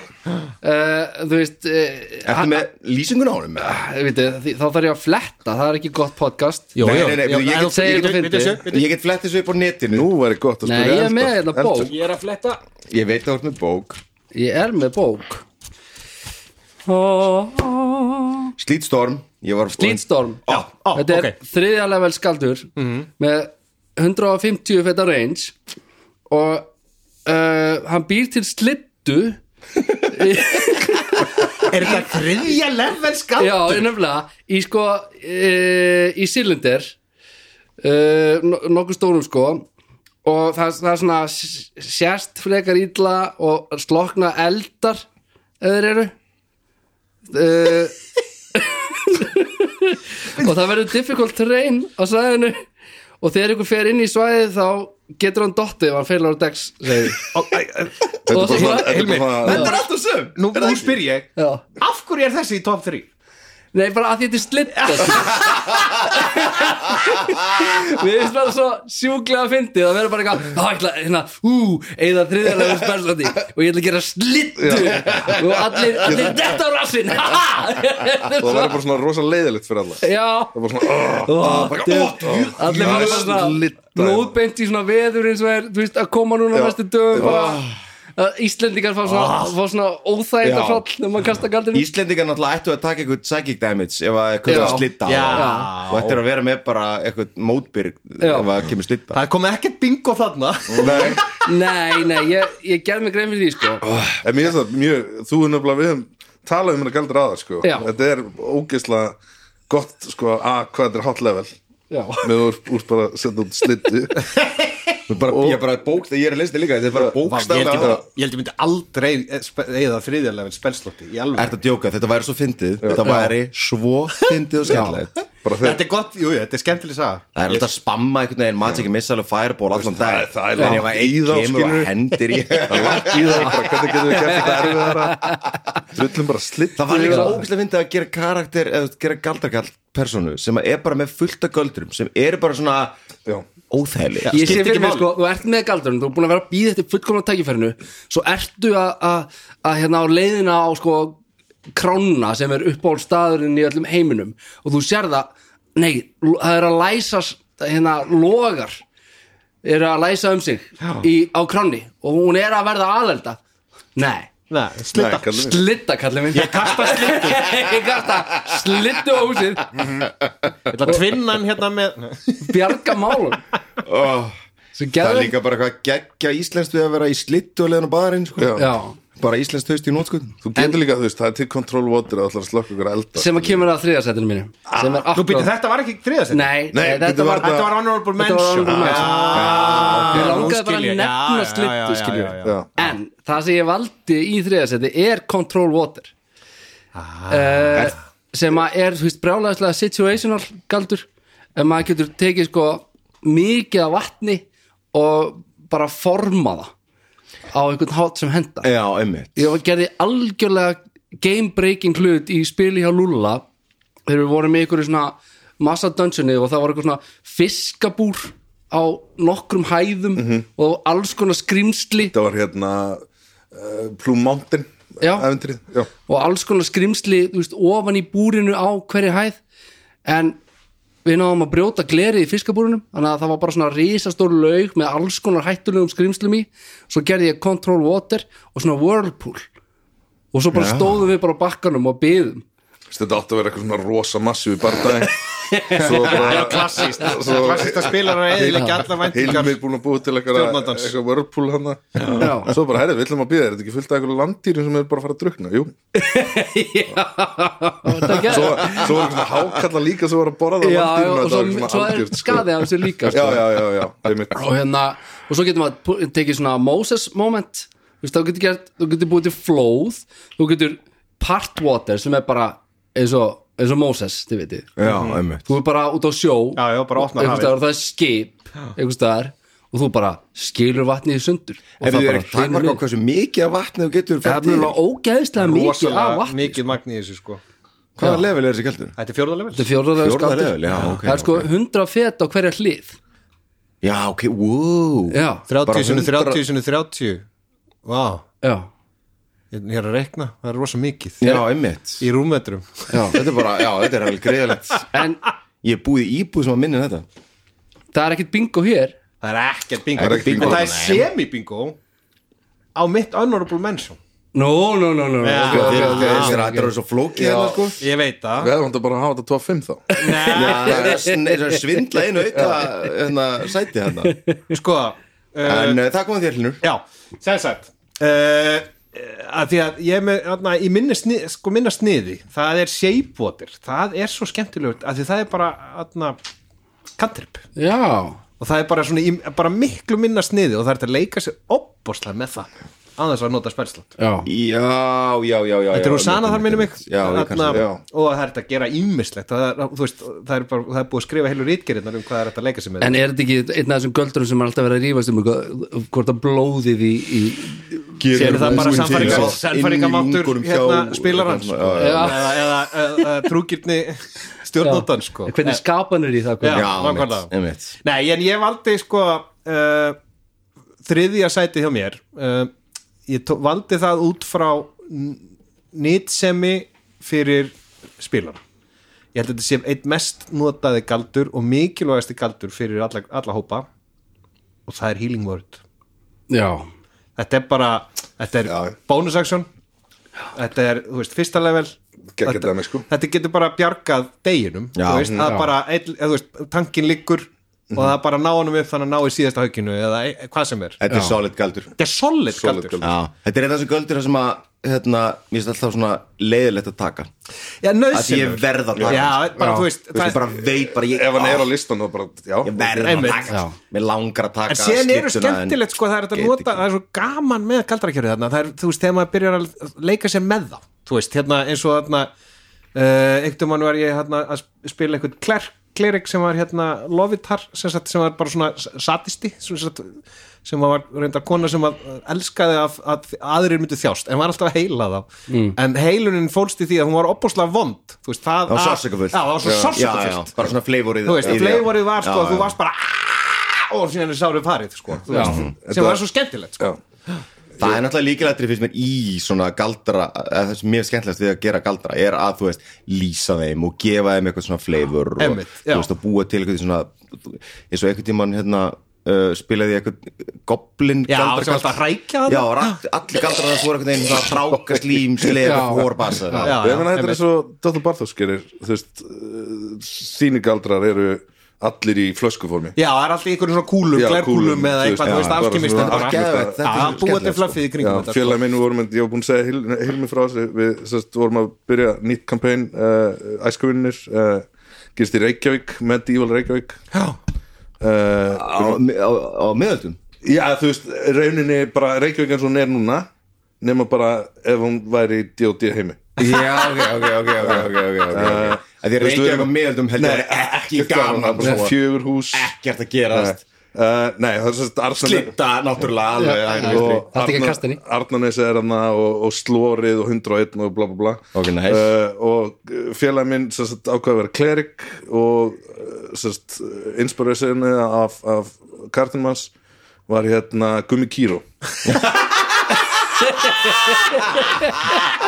[SPEAKER 3] uh, Þú veist uh,
[SPEAKER 1] Ertu með lýsingun á honum? eða?
[SPEAKER 3] veitu, því- Þá þarf ég að fletta, það er ekki gott podcast
[SPEAKER 2] Jó,
[SPEAKER 1] Nei,
[SPEAKER 2] jó,
[SPEAKER 1] nei, nei,
[SPEAKER 2] jó,
[SPEAKER 1] ég
[SPEAKER 2] ef
[SPEAKER 1] get
[SPEAKER 2] þú getur-
[SPEAKER 3] segið þetta
[SPEAKER 2] bíddu,
[SPEAKER 3] fyndið.
[SPEAKER 2] bíddu,
[SPEAKER 1] Ég get flett þessu upp á netinu
[SPEAKER 4] Nú væri gott að
[SPEAKER 3] Nei,
[SPEAKER 4] spila
[SPEAKER 3] ég er með hérna bók
[SPEAKER 2] bíddu. Ég er að fletta
[SPEAKER 1] Ég veit að þú ert með bók
[SPEAKER 3] Ég er með bók Ó, ó,
[SPEAKER 1] Slítstorm
[SPEAKER 3] Slítstorm
[SPEAKER 2] Ó, ó,
[SPEAKER 3] Þetta er
[SPEAKER 2] ok.
[SPEAKER 3] þriðja level skaldur með 150 feta range og uh, hann býr til slittu [LAUGHS]
[SPEAKER 2] Er þetta þriðja level skall?
[SPEAKER 3] Já, nefnilega í sko e, í silindir e, nokkuð stórum sko og það, það er svona s- sérst frekar ítla og slokna eldar eða þeir eru
[SPEAKER 4] [LAUGHS]
[SPEAKER 3] e, og það verður difficult terrain á svæðinu og þegar ykkur fer inn í svæðið þá getur hann dottið ef hann feilar á dex
[SPEAKER 4] Þetta
[SPEAKER 3] Og
[SPEAKER 4] er bara
[SPEAKER 3] svo-
[SPEAKER 4] svona- þetta er
[SPEAKER 2] Hilmir,
[SPEAKER 4] bara
[SPEAKER 2] þetta
[SPEAKER 4] svona
[SPEAKER 2] er alltaf söm eh, Nú, nú spyr ég,
[SPEAKER 3] Já.
[SPEAKER 2] af hverju er þessi í top 3?
[SPEAKER 3] Nei, bara að því þetta er
[SPEAKER 4] [LAUGHS]
[SPEAKER 3] slitta sko. Við erum bara svo sjúklega fyndið að vera bara eitthvað, "Á, ég ætla, hérna, ú, eða þriðarlega spærslandi og ég ætla að gera slittu og allir, allir þetta á
[SPEAKER 4] [LAUGHS]
[SPEAKER 3] [LAUGHS] rassin
[SPEAKER 4] Og það verður bara svona rosa leiðilegt fyrir alla
[SPEAKER 3] Já
[SPEAKER 4] Það er bara svona "Ah,
[SPEAKER 3] Ó, djöfull. Allir verður bara svona
[SPEAKER 4] Slydda, já.
[SPEAKER 3] blóðbeint í svona veður eins og er, þú veist, að koma núna
[SPEAKER 4] Já.
[SPEAKER 3] næstu dögum bara að Íslendingar fá svona, fá svona óþægt að
[SPEAKER 1] Já.
[SPEAKER 3] fall þegar maður kasta galdinu
[SPEAKER 1] Íslendingar náttúrulega ættu að taka eitthvað psychic damage ef að eitthvað
[SPEAKER 3] Já.
[SPEAKER 1] er að slitta á
[SPEAKER 2] Já.
[SPEAKER 1] það. og ættu að vera með bara eitthvað mótbyrg
[SPEAKER 3] Já.
[SPEAKER 1] ef að kemur slitta
[SPEAKER 2] Það er komið ekkert bingo þarna
[SPEAKER 4] Nei
[SPEAKER 3] Nei, nei, ég, ég gerð mig grein fyrir því sko
[SPEAKER 4] En mér er það mjög, þú er nefnilega við höfum talað um hérna galdur aðar sko
[SPEAKER 3] Já.
[SPEAKER 4] Þetta er ógeðslega gott sko að hvað þetta er hot level
[SPEAKER 3] Já.
[SPEAKER 4] með úr, úr bara að setja út slittu
[SPEAKER 1] bara, Ég er bara bók þegar ég er að lista líka þetta er bara
[SPEAKER 2] Vá, Ég held
[SPEAKER 1] bókstaflega
[SPEAKER 2] ég myndi- ég held ég myndi aldrei eh, spe- eyða þriðja level spelslotti í alveg
[SPEAKER 1] Ertu að djóka, þetta væri svo fyndið Þetta væri svo fyndið og skemmtilegt
[SPEAKER 4] bara þegar
[SPEAKER 2] Þetta er gott, jú, jú, þetta er skemmtileg saga
[SPEAKER 1] Það er alltaf að spamma einhvern veginn Magic Missile og Fireball allan dag
[SPEAKER 4] það er
[SPEAKER 1] Þannig
[SPEAKER 4] langt
[SPEAKER 1] að
[SPEAKER 4] í
[SPEAKER 1] einn
[SPEAKER 4] þá,
[SPEAKER 1] kemur
[SPEAKER 4] skilurðu.
[SPEAKER 1] og hendir í
[SPEAKER 4] í það bara hvernig getum við gert þetta erfiðara Drullum bara slitt
[SPEAKER 1] Það var líka svo ógæslega fyndið að gera karakter eða gera galdarkall personu sem er bara með fullta göldrum sem eru bara svona
[SPEAKER 4] Já.
[SPEAKER 1] óþæli
[SPEAKER 3] ég sé
[SPEAKER 2] skiptir
[SPEAKER 3] fyrir
[SPEAKER 2] ekki
[SPEAKER 3] mér
[SPEAKER 2] máli.
[SPEAKER 3] sko, þú ert með galdurinn þú er búin að vera að býða eftir fullkomna tækifærinu svo ertu að- að að hérna á leiðina á sko krána sem er upp á staðurinn í öllum heiminum og þú sér það nei, lo- það er að læsa s- hérna logar er að læsa um sig í, á kráni og hún er að verða aðelda nei,
[SPEAKER 2] Nei, slita
[SPEAKER 4] Nei, kallum við.
[SPEAKER 3] slitta kallið minn ég kasta slittu [LAUGHS] ég kasta slittu á húsið
[SPEAKER 2] Þetta tvinnan hérna með
[SPEAKER 3] bjarga málum
[SPEAKER 1] oh, Það
[SPEAKER 3] Svo
[SPEAKER 1] er
[SPEAKER 3] geðveikt.
[SPEAKER 1] líka bara hvað geggja íslenskt við að vera í slittu og leiðan á barinn sko.
[SPEAKER 3] Já.
[SPEAKER 1] Bara íslenskt haust í nótskun
[SPEAKER 4] Þú getur líka, þú veist, það er til control water að ætlar að slökka ykkur elda
[SPEAKER 3] sem að kemur að þriðarsætinu mínu sem er
[SPEAKER 2] Nú býttu
[SPEAKER 3] akkurat
[SPEAKER 2] þetta var ekki þriðja seti
[SPEAKER 3] Nei,
[SPEAKER 4] Nei,
[SPEAKER 3] nei,
[SPEAKER 4] bíddu,
[SPEAKER 3] þetta var
[SPEAKER 4] var
[SPEAKER 2] Þetta var honorable
[SPEAKER 3] Þetta var
[SPEAKER 2] mention
[SPEAKER 3] honorable mention.
[SPEAKER 2] Ah,
[SPEAKER 3] Ég
[SPEAKER 2] nú
[SPEAKER 3] langaði bara
[SPEAKER 2] skil
[SPEAKER 3] að
[SPEAKER 2] ég. Já,
[SPEAKER 3] nefna
[SPEAKER 2] já, já,
[SPEAKER 3] slittu
[SPEAKER 2] já,
[SPEAKER 3] skilju
[SPEAKER 2] já, já.
[SPEAKER 4] Já,
[SPEAKER 3] En það sem ég valdi í þriðarsæti er Control Water ah. sem að er þú veist, brjálæðislega situational galdur en maður getur tekið sko mikið af vatni og bara forma það á einhvern hátt sem henda
[SPEAKER 1] Já, emmitt
[SPEAKER 3] ég gerði algjörlega game breaking hlut í spili hjá Lúlla þegar við vorum með ykkur í svona massa dungeoni og það var eitthvað svona fiskabúr á nokkrum hæðum og alls konar skrimsli
[SPEAKER 4] þetta var hérna uh, Plum Mountain
[SPEAKER 3] Já.
[SPEAKER 4] Æventrið, já
[SPEAKER 3] og alls konar skrimsli þú veist, ofan í búrinu á hverju hæð en við náðum að brjóta glerið í fiskabúrunum þannig að það var bara svona risastór laug með alls konar hættulegum skrimslum í svo gerði ég control water og svona whirlpool og svo bara stóðum við bara á bakkanum og byðum
[SPEAKER 4] Veistu, Þetta átti að vera eitthvað svona rosa massíf í barndæðin Svo bara
[SPEAKER 2] Klassist,
[SPEAKER 4] Svo-
[SPEAKER 2] klassist
[SPEAKER 4] [LAUGHS]
[SPEAKER 2] að spila hann eða ekki alla væntingar
[SPEAKER 4] Hilmi er búin að búið til eitthvað
[SPEAKER 2] Stjórnandans.
[SPEAKER 4] eitthvað whirlpool hann
[SPEAKER 3] Já.
[SPEAKER 4] Svo bara, herrið, við ætlum að býða, er þetta ekki fullt af eitthvað landýrum sem er bara að fara að drukna? Jú,
[SPEAKER 3] [LAUGHS] svo,
[SPEAKER 4] svo, svo var eitthvað svona hákalla líka sem var að borða það
[SPEAKER 3] já, já,
[SPEAKER 4] landýrum
[SPEAKER 3] og svo, svo er skadið af þessu líka
[SPEAKER 4] sko. Já,
[SPEAKER 3] sko.
[SPEAKER 4] já, já, já, einmitt
[SPEAKER 3] og hérna, og svo getur maður pu- tekið svona Moses moment þú veist, þá getur gert, þú getur búið til flóð þú getur part water sem er bara eins og, eins og Moses, þið veitir
[SPEAKER 1] Já, einmitt
[SPEAKER 3] þú er bara út á sjó
[SPEAKER 2] Já, já, bara opnar hafið.
[SPEAKER 3] einhvers staðar og það er skip einhvers staðar og þú bara skilur vatnið í sundur og
[SPEAKER 1] Ef
[SPEAKER 3] það
[SPEAKER 1] þú er ekki takmark á
[SPEAKER 3] niður.
[SPEAKER 1] hversu mikið af vatni þú getur
[SPEAKER 3] það er mjög ógeðslega mikið af
[SPEAKER 2] Rosalega
[SPEAKER 3] vatni
[SPEAKER 2] mikið magn í þessu sko
[SPEAKER 1] Hvaða level er þessi kaldur?
[SPEAKER 2] Þetta er fjórða level
[SPEAKER 3] þetta er fjórðarlega
[SPEAKER 1] Fjórða
[SPEAKER 3] skattur
[SPEAKER 1] level, já, ok,
[SPEAKER 3] það er sko
[SPEAKER 1] ok.
[SPEAKER 3] 100 fet á hverja hlið
[SPEAKER 1] Já, ok, wow
[SPEAKER 3] já,
[SPEAKER 2] 30 sinni
[SPEAKER 1] Bara
[SPEAKER 2] 30 sinni 30 Vá,
[SPEAKER 3] já,
[SPEAKER 2] ég ég er að rekna Það er rosa mikið
[SPEAKER 1] Já, einmitt
[SPEAKER 2] Í rúmmetrum
[SPEAKER 1] Já, þetta er bara, já, þetta er alveg greiðilegt
[SPEAKER 3] en
[SPEAKER 1] Ég er búið í íbúð sem að minna um þetta
[SPEAKER 3] það er ekkit bingo hér
[SPEAKER 2] Það er ekkert bingo,
[SPEAKER 4] Það er ekkert bingo.
[SPEAKER 2] En það er semi-bingo Á mitt honorable mention
[SPEAKER 3] Nú, nú, nú, nú
[SPEAKER 2] Já,
[SPEAKER 3] ok, ok,
[SPEAKER 1] Þeir-
[SPEAKER 3] ok,
[SPEAKER 1] þeir-
[SPEAKER 3] ok,
[SPEAKER 1] Þessir
[SPEAKER 3] ok.
[SPEAKER 1] aðdraður svo flókið hérna, sko.
[SPEAKER 2] Ég veit það
[SPEAKER 4] Við erum þetta bara að hafa þetta 2.5 þá
[SPEAKER 2] Nei,
[SPEAKER 1] Já, það er að sn- er að svindla einu auka hérna, sæti hérna
[SPEAKER 2] sko uh,
[SPEAKER 1] En uh, það kom að þér hlinur
[SPEAKER 2] Já, sem sagt uh, að Því að ég er með atna, í minni, sni, sko, minna sniði það er shapewater, það er svo skemmtilegt að því það er bara atna, kantrip
[SPEAKER 3] Já,
[SPEAKER 2] og það er bara, svona, í, bara miklu minna sniði og það er hægt að leika sér opboslega með það á þess að nota spennslant
[SPEAKER 3] já
[SPEAKER 1] Já, já, já, já
[SPEAKER 2] Þetta
[SPEAKER 1] já,
[SPEAKER 2] eru sana þar
[SPEAKER 1] einmitt,
[SPEAKER 2] minnum mig
[SPEAKER 1] einmitt. Já, ég
[SPEAKER 2] Þarna-
[SPEAKER 1] kannski, já
[SPEAKER 2] og það er hægt að gera ímislegt það er, þú veist, það, er bara, það er búið að skrifa heilu rítgerinnar um hvað er hægt að leika sér með
[SPEAKER 3] En er þetta ekki einn af þessum göldurum sem er alltaf verið að rífast um eitthvað- hvort að blóðið í, í
[SPEAKER 2] Sér það bara
[SPEAKER 1] Já.
[SPEAKER 2] sannfæringar-
[SPEAKER 1] Inn í
[SPEAKER 2] sannfæringamáttur
[SPEAKER 1] lungunum hjá-
[SPEAKER 2] hérna, spilarans
[SPEAKER 1] Já, já, já.
[SPEAKER 2] eða, eða, eða, eða trúgirni stjórnóttan sko
[SPEAKER 3] hvernig skapanur í það hvernig?
[SPEAKER 2] Já,
[SPEAKER 1] einmitt,
[SPEAKER 2] nákvæmlega.
[SPEAKER 1] einmitt.
[SPEAKER 2] Nei, en ég valdi sko uh, þriðja sæti hjá mér uh, ég tó, valdi það út frá n- nýtsemi fyrir spilara ég held að þetta sé einn mest notaði galdur og mikilvægasti galdur fyrir alla, alla hópa og það er healing word
[SPEAKER 3] Já,
[SPEAKER 2] þetta er bara, þetta er
[SPEAKER 4] Já.
[SPEAKER 2] bonus action þetta er, þú veist, fyrsta level
[SPEAKER 4] Geggjað
[SPEAKER 2] þetta,
[SPEAKER 4] dæmi, sko.
[SPEAKER 2] þetta getur bara bjargað deginum
[SPEAKER 1] Já.
[SPEAKER 2] þú veist, það er bara, einn- eða þú veist, tankin liggur og það er bara að ná honum upp þannig að ná í síðasta hauginu eða e e hvað sem er
[SPEAKER 1] Mhm. Þetta er solid galdur
[SPEAKER 2] þetta er solid,
[SPEAKER 4] Solid
[SPEAKER 2] galdur,
[SPEAKER 4] galdur.
[SPEAKER 1] Já, þetta er einn af þessum göldur sem að hérna, mér finnst alltaf svona leiðilegt að taka
[SPEAKER 2] já,
[SPEAKER 1] Að því ég
[SPEAKER 2] nöðsynur
[SPEAKER 1] verð að taka
[SPEAKER 2] já, bara,
[SPEAKER 3] Já.
[SPEAKER 2] þú veist,
[SPEAKER 1] Þú veist, ég bara veit bara ég,
[SPEAKER 4] Ef hann er á listan þá bara, já
[SPEAKER 1] ég verð að
[SPEAKER 2] Einmitt.
[SPEAKER 1] taka
[SPEAKER 3] Já.
[SPEAKER 1] Mér langar að taka
[SPEAKER 2] en síðan eru
[SPEAKER 1] skiptuna, en-
[SPEAKER 2] skemmtilegt sko, það er þetta
[SPEAKER 1] get
[SPEAKER 2] að nota,
[SPEAKER 1] ekki.
[SPEAKER 2] það er svo gaman með galdrakjöru þarna, það er, þú veist, þegar maður byrjar að leika sér með þá, þú veist, hérna eins og þarna, uh, einhvern mann var ég hérna að spila einhvern klerk klerik sem var hérna lovitar sem, sagt, sem var bara svona satisti sem, sagt, sem var reyndar kona sem að elskaði að, að aðrir myndu þjást en var alltaf að heila þá en heilunin fólst í því að hún var opbúslega vond þú veist,
[SPEAKER 1] Það
[SPEAKER 2] það
[SPEAKER 1] var
[SPEAKER 2] að-
[SPEAKER 1] sársaukafull.
[SPEAKER 2] Já, það var svo
[SPEAKER 1] Já, já,
[SPEAKER 2] sársökafullt
[SPEAKER 1] já, Bara svona fleivorið
[SPEAKER 2] þú veist,
[SPEAKER 1] í því, já.
[SPEAKER 2] fleivorið var sko
[SPEAKER 1] Já,
[SPEAKER 2] að þú
[SPEAKER 1] já.
[SPEAKER 2] varst bara "Ah!" og síðan er sárið farið sko, þú veist, sem
[SPEAKER 4] Þetta-
[SPEAKER 2] var svo skemmtilegt sko.
[SPEAKER 4] Já,
[SPEAKER 1] Það er náttúrulega líkilættri finnst mér í svona galdra eða það sem mér er skemmtilegast við að gera galdra er að þú veist, lýsa þeim og gefa þeim eitthvað svona flavor og
[SPEAKER 2] Einmitt, já.
[SPEAKER 1] þú veist að búa til eitthvað svona eins og einhvern tímann hérna uh, spilaði ég eitthvað goblin
[SPEAKER 2] já,
[SPEAKER 1] galdra-
[SPEAKER 2] sem alltaf hrækja
[SPEAKER 1] Já, og all- allir galdrar það voru einhvern veginn svona stráka slím, slefi,
[SPEAKER 3] Já.
[SPEAKER 1] fórbassa
[SPEAKER 2] Já,
[SPEAKER 4] ég meina þetta
[SPEAKER 2] einmitt.
[SPEAKER 4] er svo Dóttur Barthós gerir, þú veist uh, Sýnigaldrar eru allir í flöskuformi
[SPEAKER 2] já, það er alltaf í einhverjum svona kúlum,
[SPEAKER 4] Já,
[SPEAKER 2] glerkúlum
[SPEAKER 4] kúlum,
[SPEAKER 2] eða
[SPEAKER 4] þú veist,
[SPEAKER 2] eitthvað, þú
[SPEAKER 4] já,
[SPEAKER 2] veist,
[SPEAKER 4] bara
[SPEAKER 2] alkemist
[SPEAKER 4] svona
[SPEAKER 2] þetta er bara-
[SPEAKER 1] algeðvegt, þetta er
[SPEAKER 2] Já, búið til
[SPEAKER 1] skemmtilegt,
[SPEAKER 2] fluffið í
[SPEAKER 4] Já,
[SPEAKER 2] kringum þetta sko.
[SPEAKER 4] félag minn vorum, ég var búin að segja Hil- Hilmi frá þessu, við sest, vorum að byrja nýtt kampæn, uh, æskuvinnir uh, gerist í Reykjavík, Medieval Reykjavík
[SPEAKER 2] Já.
[SPEAKER 4] uh,
[SPEAKER 1] Á, á, á miðöldum
[SPEAKER 4] Já, þú veist, rauninni bara Reykjavík eins og hún er núna nema bara ef hún væri í D.O.D. heimi
[SPEAKER 1] Já, ok, ok, ok, ok, ok, ok, [LAUGHS] ok, ok. Eh, Að Því að
[SPEAKER 4] Þú veist, við
[SPEAKER 1] reykja
[SPEAKER 4] erum-
[SPEAKER 1] á miðöldum heldur
[SPEAKER 4] Nei,
[SPEAKER 1] er ekki
[SPEAKER 4] gaman, það er
[SPEAKER 1] gaman
[SPEAKER 4] bara svona fjögur hús
[SPEAKER 1] ekkert að gerast
[SPEAKER 4] uh, Nei, það er sérst Arnarnes
[SPEAKER 1] Slitta, náttúrulega, alveg
[SPEAKER 3] Já,
[SPEAKER 1] hægri
[SPEAKER 3] já,
[SPEAKER 1] vinstri.
[SPEAKER 3] Það er ekki að kasta henni.
[SPEAKER 4] Arnarnes er hann og, og Slórið og 101 og bla bla bla
[SPEAKER 1] Ok, nice.
[SPEAKER 4] uh, og félag minn sérst ákvað að vera klerik og eh, sérst inspiration af, af kartinmanns var hérna Gummi
[SPEAKER 1] [LAUGHS]
[SPEAKER 4] Kíró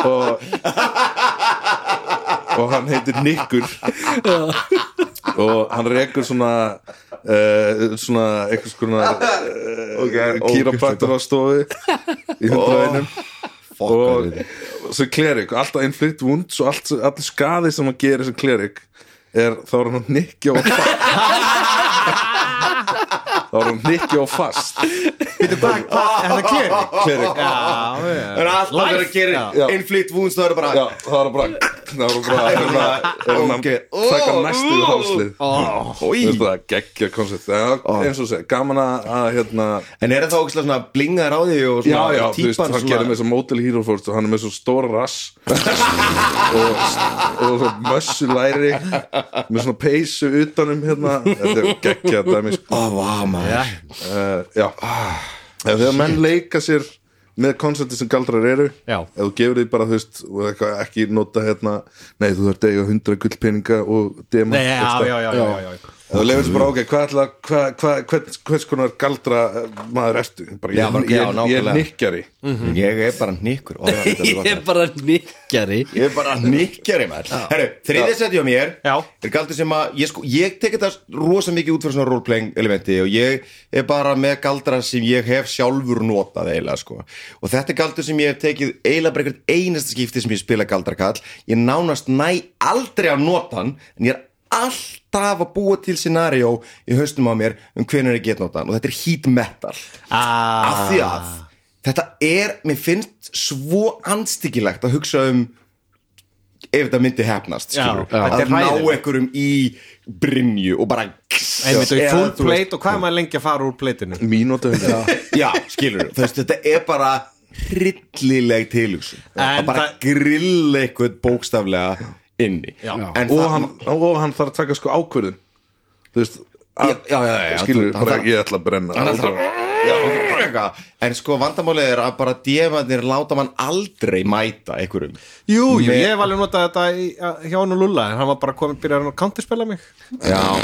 [SPEAKER 4] og og hann heitir Nikkur og hann rekur svona uh, svona einhvers konar uh, kýraprættur á stofu í hundra einum
[SPEAKER 1] Fuck,
[SPEAKER 4] og
[SPEAKER 1] hvað er þetta?
[SPEAKER 4] sem klerik, alltaf innflytt vund svo allt, allir skaði sem hann gerir sem klerik er þá er hann að nikja og fast þá er hann að nikja og fast
[SPEAKER 2] Bíddu, hvað- hvað- er það klerik?
[SPEAKER 4] klerik
[SPEAKER 2] Já,
[SPEAKER 1] En alltaf
[SPEAKER 2] Life,
[SPEAKER 1] þegar að
[SPEAKER 4] já.
[SPEAKER 1] gera innflýtt vúns þá eru bara
[SPEAKER 4] Já, það er bara það er bara er hann að- er hann
[SPEAKER 1] Ok.
[SPEAKER 4] að taka næstu í hálslið
[SPEAKER 1] Í.
[SPEAKER 4] Þú veist það, geggja koncept eins og segja, gaman að að, hérna
[SPEAKER 1] En er það þá ógislega svona blingaður á því og
[SPEAKER 4] Já,
[SPEAKER 1] svona
[SPEAKER 4] já, þú veist,
[SPEAKER 1] típan
[SPEAKER 4] hann gerir með þessu Model Hero Force og hann er með svo stóra rass [LAUGHS] og, og svo mössu læri með svona peysu utanum hérna, þetta er geggja dæmi sko.
[SPEAKER 1] Ó, vá, maður
[SPEAKER 4] uh, Já, ef þegar menn leika sér með konsepti sem galdrar eru
[SPEAKER 2] Já.
[SPEAKER 4] ef þú gefur því bara, þú veist, og eitthvað ekki nota hérna, nei, þú þarf degja 100 gullpeninga og dema
[SPEAKER 2] Nei, já, já, já, já, já, já.
[SPEAKER 4] Þú lefur þessu bara, ok, hvað ætla, hvað, hvað, hvers, hvers konar galdra eh, maður ertu? Bara, ég,
[SPEAKER 1] Já, bara- já,
[SPEAKER 4] ég, ég, ég
[SPEAKER 1] nákvæmlega.
[SPEAKER 4] er nikkjari.
[SPEAKER 1] Mhm. Ég er bara nikkur Ó, þetta er
[SPEAKER 3] [LAUGHS] Ég
[SPEAKER 1] gott.
[SPEAKER 3] er bara nikkjari
[SPEAKER 1] Ég er bara nikkjari maður Herru, þriðið setjum mér
[SPEAKER 2] Já.
[SPEAKER 1] er galdur sem að ég, sko, ég tek þetta rosa mikið út fyrir svona roleplaying elementi og ég er bara með galdra sem ég hef sjálfur notað eiginlega sko. og þetta er galdur sem ég hef tekið eiginlega bara eitthvað einasta skipti sem ég spila galdrakall ég nánast næ aldrei að nota hann en ég er alltaf að búa til scenario í haustum á mér um hvernig ég get nota hann og þetta er heat metal
[SPEAKER 2] Ah.
[SPEAKER 1] af því að þetta er, mér finnst svo andstyggilegt að hugsa um ef þetta myndi hefnast
[SPEAKER 2] Já,
[SPEAKER 1] skilur,
[SPEAKER 2] já. Þetta
[SPEAKER 1] að
[SPEAKER 2] er
[SPEAKER 1] ná
[SPEAKER 2] hræðilegt.
[SPEAKER 1] einhverjum í brinju og bara
[SPEAKER 2] einmitt og í
[SPEAKER 1] eða,
[SPEAKER 2] full
[SPEAKER 1] þú veist,
[SPEAKER 2] plate og hvað er maður lengi að fara úr pleitinu
[SPEAKER 4] mínúta hundra
[SPEAKER 1] já, skilur, þú veist, þetta er bara hryllileg tilhugsun
[SPEAKER 2] En
[SPEAKER 1] að bara
[SPEAKER 2] það-
[SPEAKER 1] grilla eitthvað bókstaflega inni
[SPEAKER 2] Já.
[SPEAKER 1] En
[SPEAKER 4] og
[SPEAKER 1] það-
[SPEAKER 4] hann, og hann þarf að taka sko ákvörðun þú veist að,
[SPEAKER 1] Já, já, já, já,
[SPEAKER 4] skilur,
[SPEAKER 1] þú- hann
[SPEAKER 4] bara
[SPEAKER 1] þarf-
[SPEAKER 4] ég ætla að brenna
[SPEAKER 1] hann ætlar Já, eitthvað. en sko vandamálið er að bara djefarnir láta mann aldrei mæta einhverjum
[SPEAKER 2] Jú, jú,
[SPEAKER 1] Með-
[SPEAKER 2] ég hef alveg notað þetta í, að, hjá hann og Lulla en hann var bara komin, byrjaði hann að counterspela mig
[SPEAKER 1] Já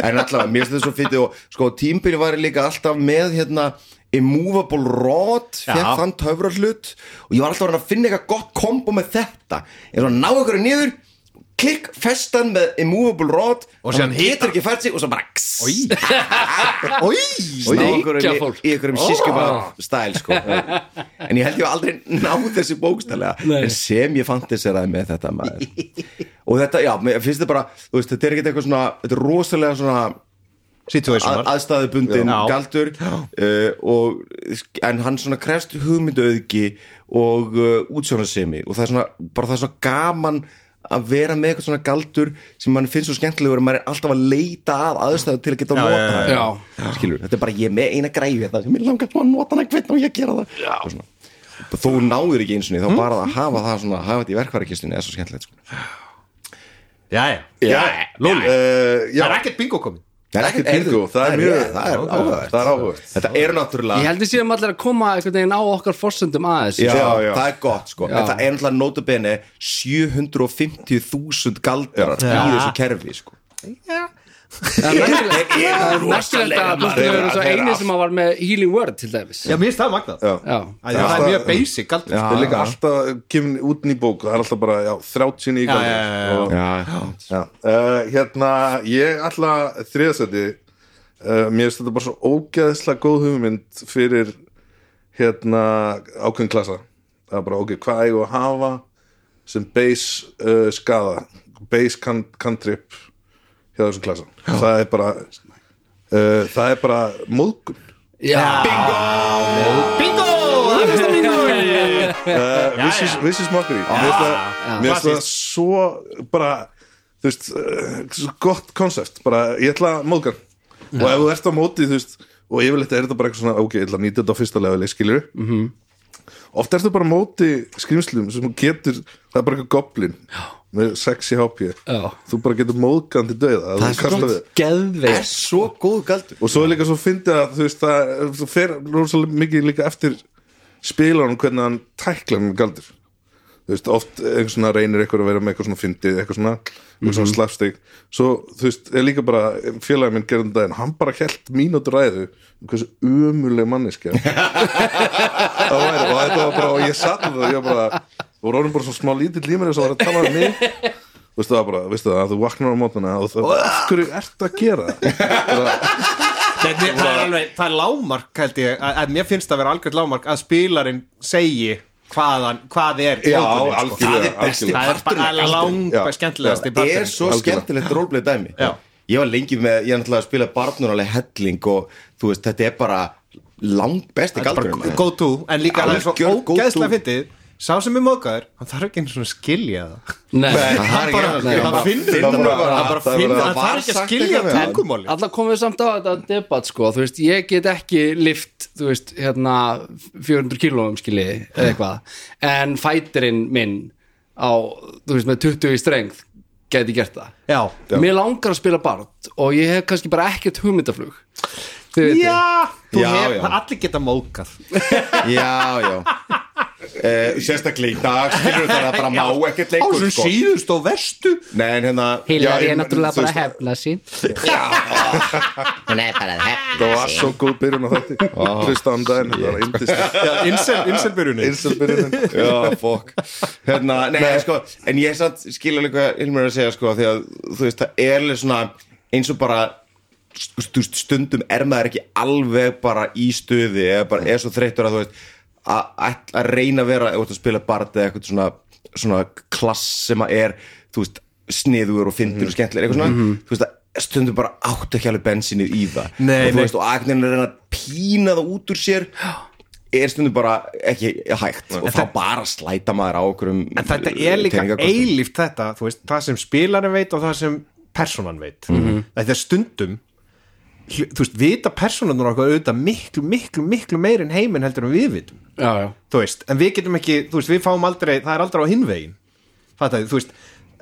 [SPEAKER 1] En allavega, mér finnst þetta svo fyndið og sko, tímbyrju var ég líka alltaf með hérna immovable rod fekk
[SPEAKER 2] Já.
[SPEAKER 1] þann töfrar hlut og ég var alltaf að reyna að finna eitthvað gott kombo með þetta ég er svona að ná ykkur niður klikk festan með immovable rod
[SPEAKER 2] Og
[SPEAKER 1] þannig
[SPEAKER 2] síðan
[SPEAKER 1] að
[SPEAKER 2] hita.
[SPEAKER 1] getur ekki fært sig og svo bara kss,
[SPEAKER 2] Í,
[SPEAKER 1] ná
[SPEAKER 3] Steikja
[SPEAKER 1] ykkur í,
[SPEAKER 3] fólk.
[SPEAKER 1] í ykkurum sískjuba stæl
[SPEAKER 2] [LAUGHS]
[SPEAKER 1] sko. en ég held ég hafi aldrei náð þessu bókstælega
[SPEAKER 3] Nei.
[SPEAKER 1] en sem ég fantaseraði með þetta maður
[SPEAKER 2] [LAUGHS]
[SPEAKER 1] og þetta, já, mér finnst þetta bara þú veist, þetta er ekkert eitthvað svona, þetta er rosalega svona
[SPEAKER 2] situationar
[SPEAKER 1] að, aðstæðubundin
[SPEAKER 2] Já.
[SPEAKER 1] galdur uh, og, en hann svona krefst hugmynduauðgi og uh, útsjónarsemi og það er svona, bara það er svona gaman að vera með eitthvað svona galdur sem mann finnst svo skemmtilegur að maður er alltaf að leita að aðstæðu til að geta að nota
[SPEAKER 2] já,
[SPEAKER 3] já.
[SPEAKER 1] það skilur, þetta er bara ég með eina græfi þetta, mér langar þú að nota hana hvernig og ég að gera það já. og svona þú náður ekki eins og þá bara að hafa það svona, hafa þetta í verkværakistunni er svo skemmtilegt sko.
[SPEAKER 2] Jæja, jæja, Lulli
[SPEAKER 4] uh, já,
[SPEAKER 2] Það er ekkert bingo komin
[SPEAKER 1] það
[SPEAKER 4] Ekkert bingo, það er mjög-
[SPEAKER 1] það er áhugavert
[SPEAKER 4] það er áhugavert
[SPEAKER 1] þetta er náttúrulega
[SPEAKER 3] Ég held við séum allir að koma einhvern veginn á okkar forsendum aðeins
[SPEAKER 1] já,
[SPEAKER 4] Já, já.
[SPEAKER 1] það er gott sko
[SPEAKER 3] Já.
[SPEAKER 1] en það er náttúrulega notabene 750.000 galdrar
[SPEAKER 2] Já.
[SPEAKER 1] í þessu kerfi sko
[SPEAKER 3] Það er merkilegt-
[SPEAKER 1] Þeir
[SPEAKER 3] það er
[SPEAKER 1] eru
[SPEAKER 3] merkilegt
[SPEAKER 1] rosalega
[SPEAKER 3] að þú
[SPEAKER 1] margir.
[SPEAKER 3] erum svo
[SPEAKER 1] Þeir eru
[SPEAKER 3] eini sem að var með Healing Word til dæmis
[SPEAKER 2] Já, mér finnst það magnað
[SPEAKER 4] já.
[SPEAKER 3] Já.
[SPEAKER 2] Æ, Það er
[SPEAKER 4] Alltaf-
[SPEAKER 2] mjög basic galdur
[SPEAKER 4] það er líka alltaf kemur út ný bók og það er alltaf bara já, 30 ný
[SPEAKER 2] Já,
[SPEAKER 4] galdur
[SPEAKER 2] já, já, já.
[SPEAKER 4] Og-
[SPEAKER 1] hérna. já,
[SPEAKER 4] Já, uh, hérna, ég ætla þriðasæti, uh, mér finnst þetta bara svo ógeðslega góð hugmynd fyrir hérna ákveðin klasa það er bara ok, hvað eigum við að hafa sem base uh, skada base can, cantrip hjá þessum klasa það er bara uh, það er bara móðgun
[SPEAKER 3] Já.
[SPEAKER 2] Bingo, það er fyrsta bingo
[SPEAKER 4] Vissis Vissis Mockery Mér finnst það- mér finnst það svo bara þú veist, uh, svo gott konsept bara ég ætla að móðgan og ef þú ert á móti þú veist og yfirleitt er þetta bara eitthvað svona ok, ég ætla að nýta þetta á fyrsta lefali skilur mm -hmm. oft ertu bara á móti skrýmslum sem þú getur það er bara eitthvað goblin með sexy HP
[SPEAKER 3] Já.
[SPEAKER 4] þú bara getur móðgan til dauða það
[SPEAKER 1] er svo góð galdur
[SPEAKER 4] og svo er líka svo fyndið að þú veist það þú fer rosalega mikið líka eftir spilanum hvernig hann tæklar með galdur þú veist, oft einhver svona reynir eitthvað að vera með eitthvað svona fyndið, eitthvað svona, mm svona slapstick svo þú veist, er líka bara félagin minn gerðan daginn, hann bara held mínútur ræðu um hversu umuleg manneskja það væri og þetta var bara, og ég satt um það og ég var bara, og rónum bara svona smá lítill límur eins og var að tala um mig þú veist það bara, veistu það, þú vaknar á mótana og það, af hverju ertu að gera það Bara-
[SPEAKER 2] Þetta er- það er alveg- Það er lámark held ég að, að Mér finnst það vera algjörð lámark að spilarinn segi hvaðan, hvað er
[SPEAKER 4] Já,
[SPEAKER 2] móðgunin, sko.
[SPEAKER 4] algjörlega,
[SPEAKER 1] Það er besti
[SPEAKER 4] algjörlega.
[SPEAKER 2] Það er bara langt
[SPEAKER 4] Já.
[SPEAKER 2] skemmtilegast
[SPEAKER 1] það
[SPEAKER 2] í
[SPEAKER 1] er
[SPEAKER 2] parturinn sko.
[SPEAKER 1] svo skemmtilegt rólbleið dæmi
[SPEAKER 2] Já.
[SPEAKER 1] ég var lengi með, ég er náttúrulega að spila barnur alveg helling og þú veist, þetta er bara langt besti galdur
[SPEAKER 2] bara go to en líka það er svo
[SPEAKER 1] Algjör go to.
[SPEAKER 2] ógeðslega fyndið sá sem er móðgæður, hann þarf ekki einu svona að skilja það
[SPEAKER 3] Nei.
[SPEAKER 2] hann bara, hann bara finnur
[SPEAKER 4] finnur
[SPEAKER 2] hann
[SPEAKER 4] bara-
[SPEAKER 2] bara
[SPEAKER 4] það
[SPEAKER 2] finnur,
[SPEAKER 4] bara
[SPEAKER 2] hann
[SPEAKER 1] var
[SPEAKER 2] þarf ekki að
[SPEAKER 1] sagt
[SPEAKER 2] skilja
[SPEAKER 1] eitthvað við hann.
[SPEAKER 2] tungumáli
[SPEAKER 3] Alla komum við samt á þetta debatt sko, þú veist, ég get ekki lift, þú veist, hérna 400 kílóum skili eða eitthvað, en fætirinn minn á, þú veist, með 20 í strengð geti gert það.
[SPEAKER 2] já,
[SPEAKER 3] Mér langar að spila barnd og ég hef kannski bara ekkert hugmyndaflug. Þið vitið.
[SPEAKER 2] já, þú
[SPEAKER 1] Já,
[SPEAKER 2] hef,
[SPEAKER 1] já.
[SPEAKER 2] það allir geta móðgað
[SPEAKER 1] já,
[SPEAKER 2] [LAUGHS]
[SPEAKER 1] já Eh, sérstaklega í dag skilur það að bara má ekkert
[SPEAKER 2] á
[SPEAKER 1] leikur
[SPEAKER 2] þessum
[SPEAKER 1] sko.
[SPEAKER 2] síðust og verstu
[SPEAKER 1] Nei, en hérna
[SPEAKER 5] Hilari
[SPEAKER 1] já,
[SPEAKER 5] er
[SPEAKER 1] en-
[SPEAKER 5] náttúrulega
[SPEAKER 1] þú
[SPEAKER 5] bara
[SPEAKER 1] veist,
[SPEAKER 5] að hefna sín Hún er bara að
[SPEAKER 4] Það
[SPEAKER 5] hefna
[SPEAKER 4] var
[SPEAKER 5] sín
[SPEAKER 4] svo góð byrjun á þetta Hlusta án daginn, þetta var indist
[SPEAKER 2] inselbyrjunni
[SPEAKER 4] Einsel byrjunin
[SPEAKER 1] Já, fokk hérna, nei, Sko, En ég satt skilja líka Ilmur er að segja sko, því að þú veist það er alveg svona eins og bara st- st- stundum er maður ekki alveg bara í stuði eða bara er svo þreyttur að þú veist að ætla að reyna að vera ef þú ert að spila barð eða eitthvað svona, svona klass sem að er þú veist, sniður og fyndir og skemmtilegur eitthvað svona,
[SPEAKER 2] Mhm.
[SPEAKER 1] þú veist að stundum bara átt ekki alveg bensinið í það
[SPEAKER 2] Nei,
[SPEAKER 1] og þú
[SPEAKER 2] nei.
[SPEAKER 1] veist og agnin er að reyna að pína það út úr sér er stundum bara ekki hægt og þá bara slæta maður á okkur um
[SPEAKER 2] en þetta er líka eilíft þetta þú veist, það sem spilarinn veit og það sem personan veit þetta er stundum hlu- þú veist, vita personanur okkur auðvitað miklu, miklu, miklu meir en heiminn heldur en við vitum
[SPEAKER 3] já, já,
[SPEAKER 2] þú veist, en við getum ekki, þú veist, við fáum aldrei það er aldrei á hinvegin Fattaði, þú veist,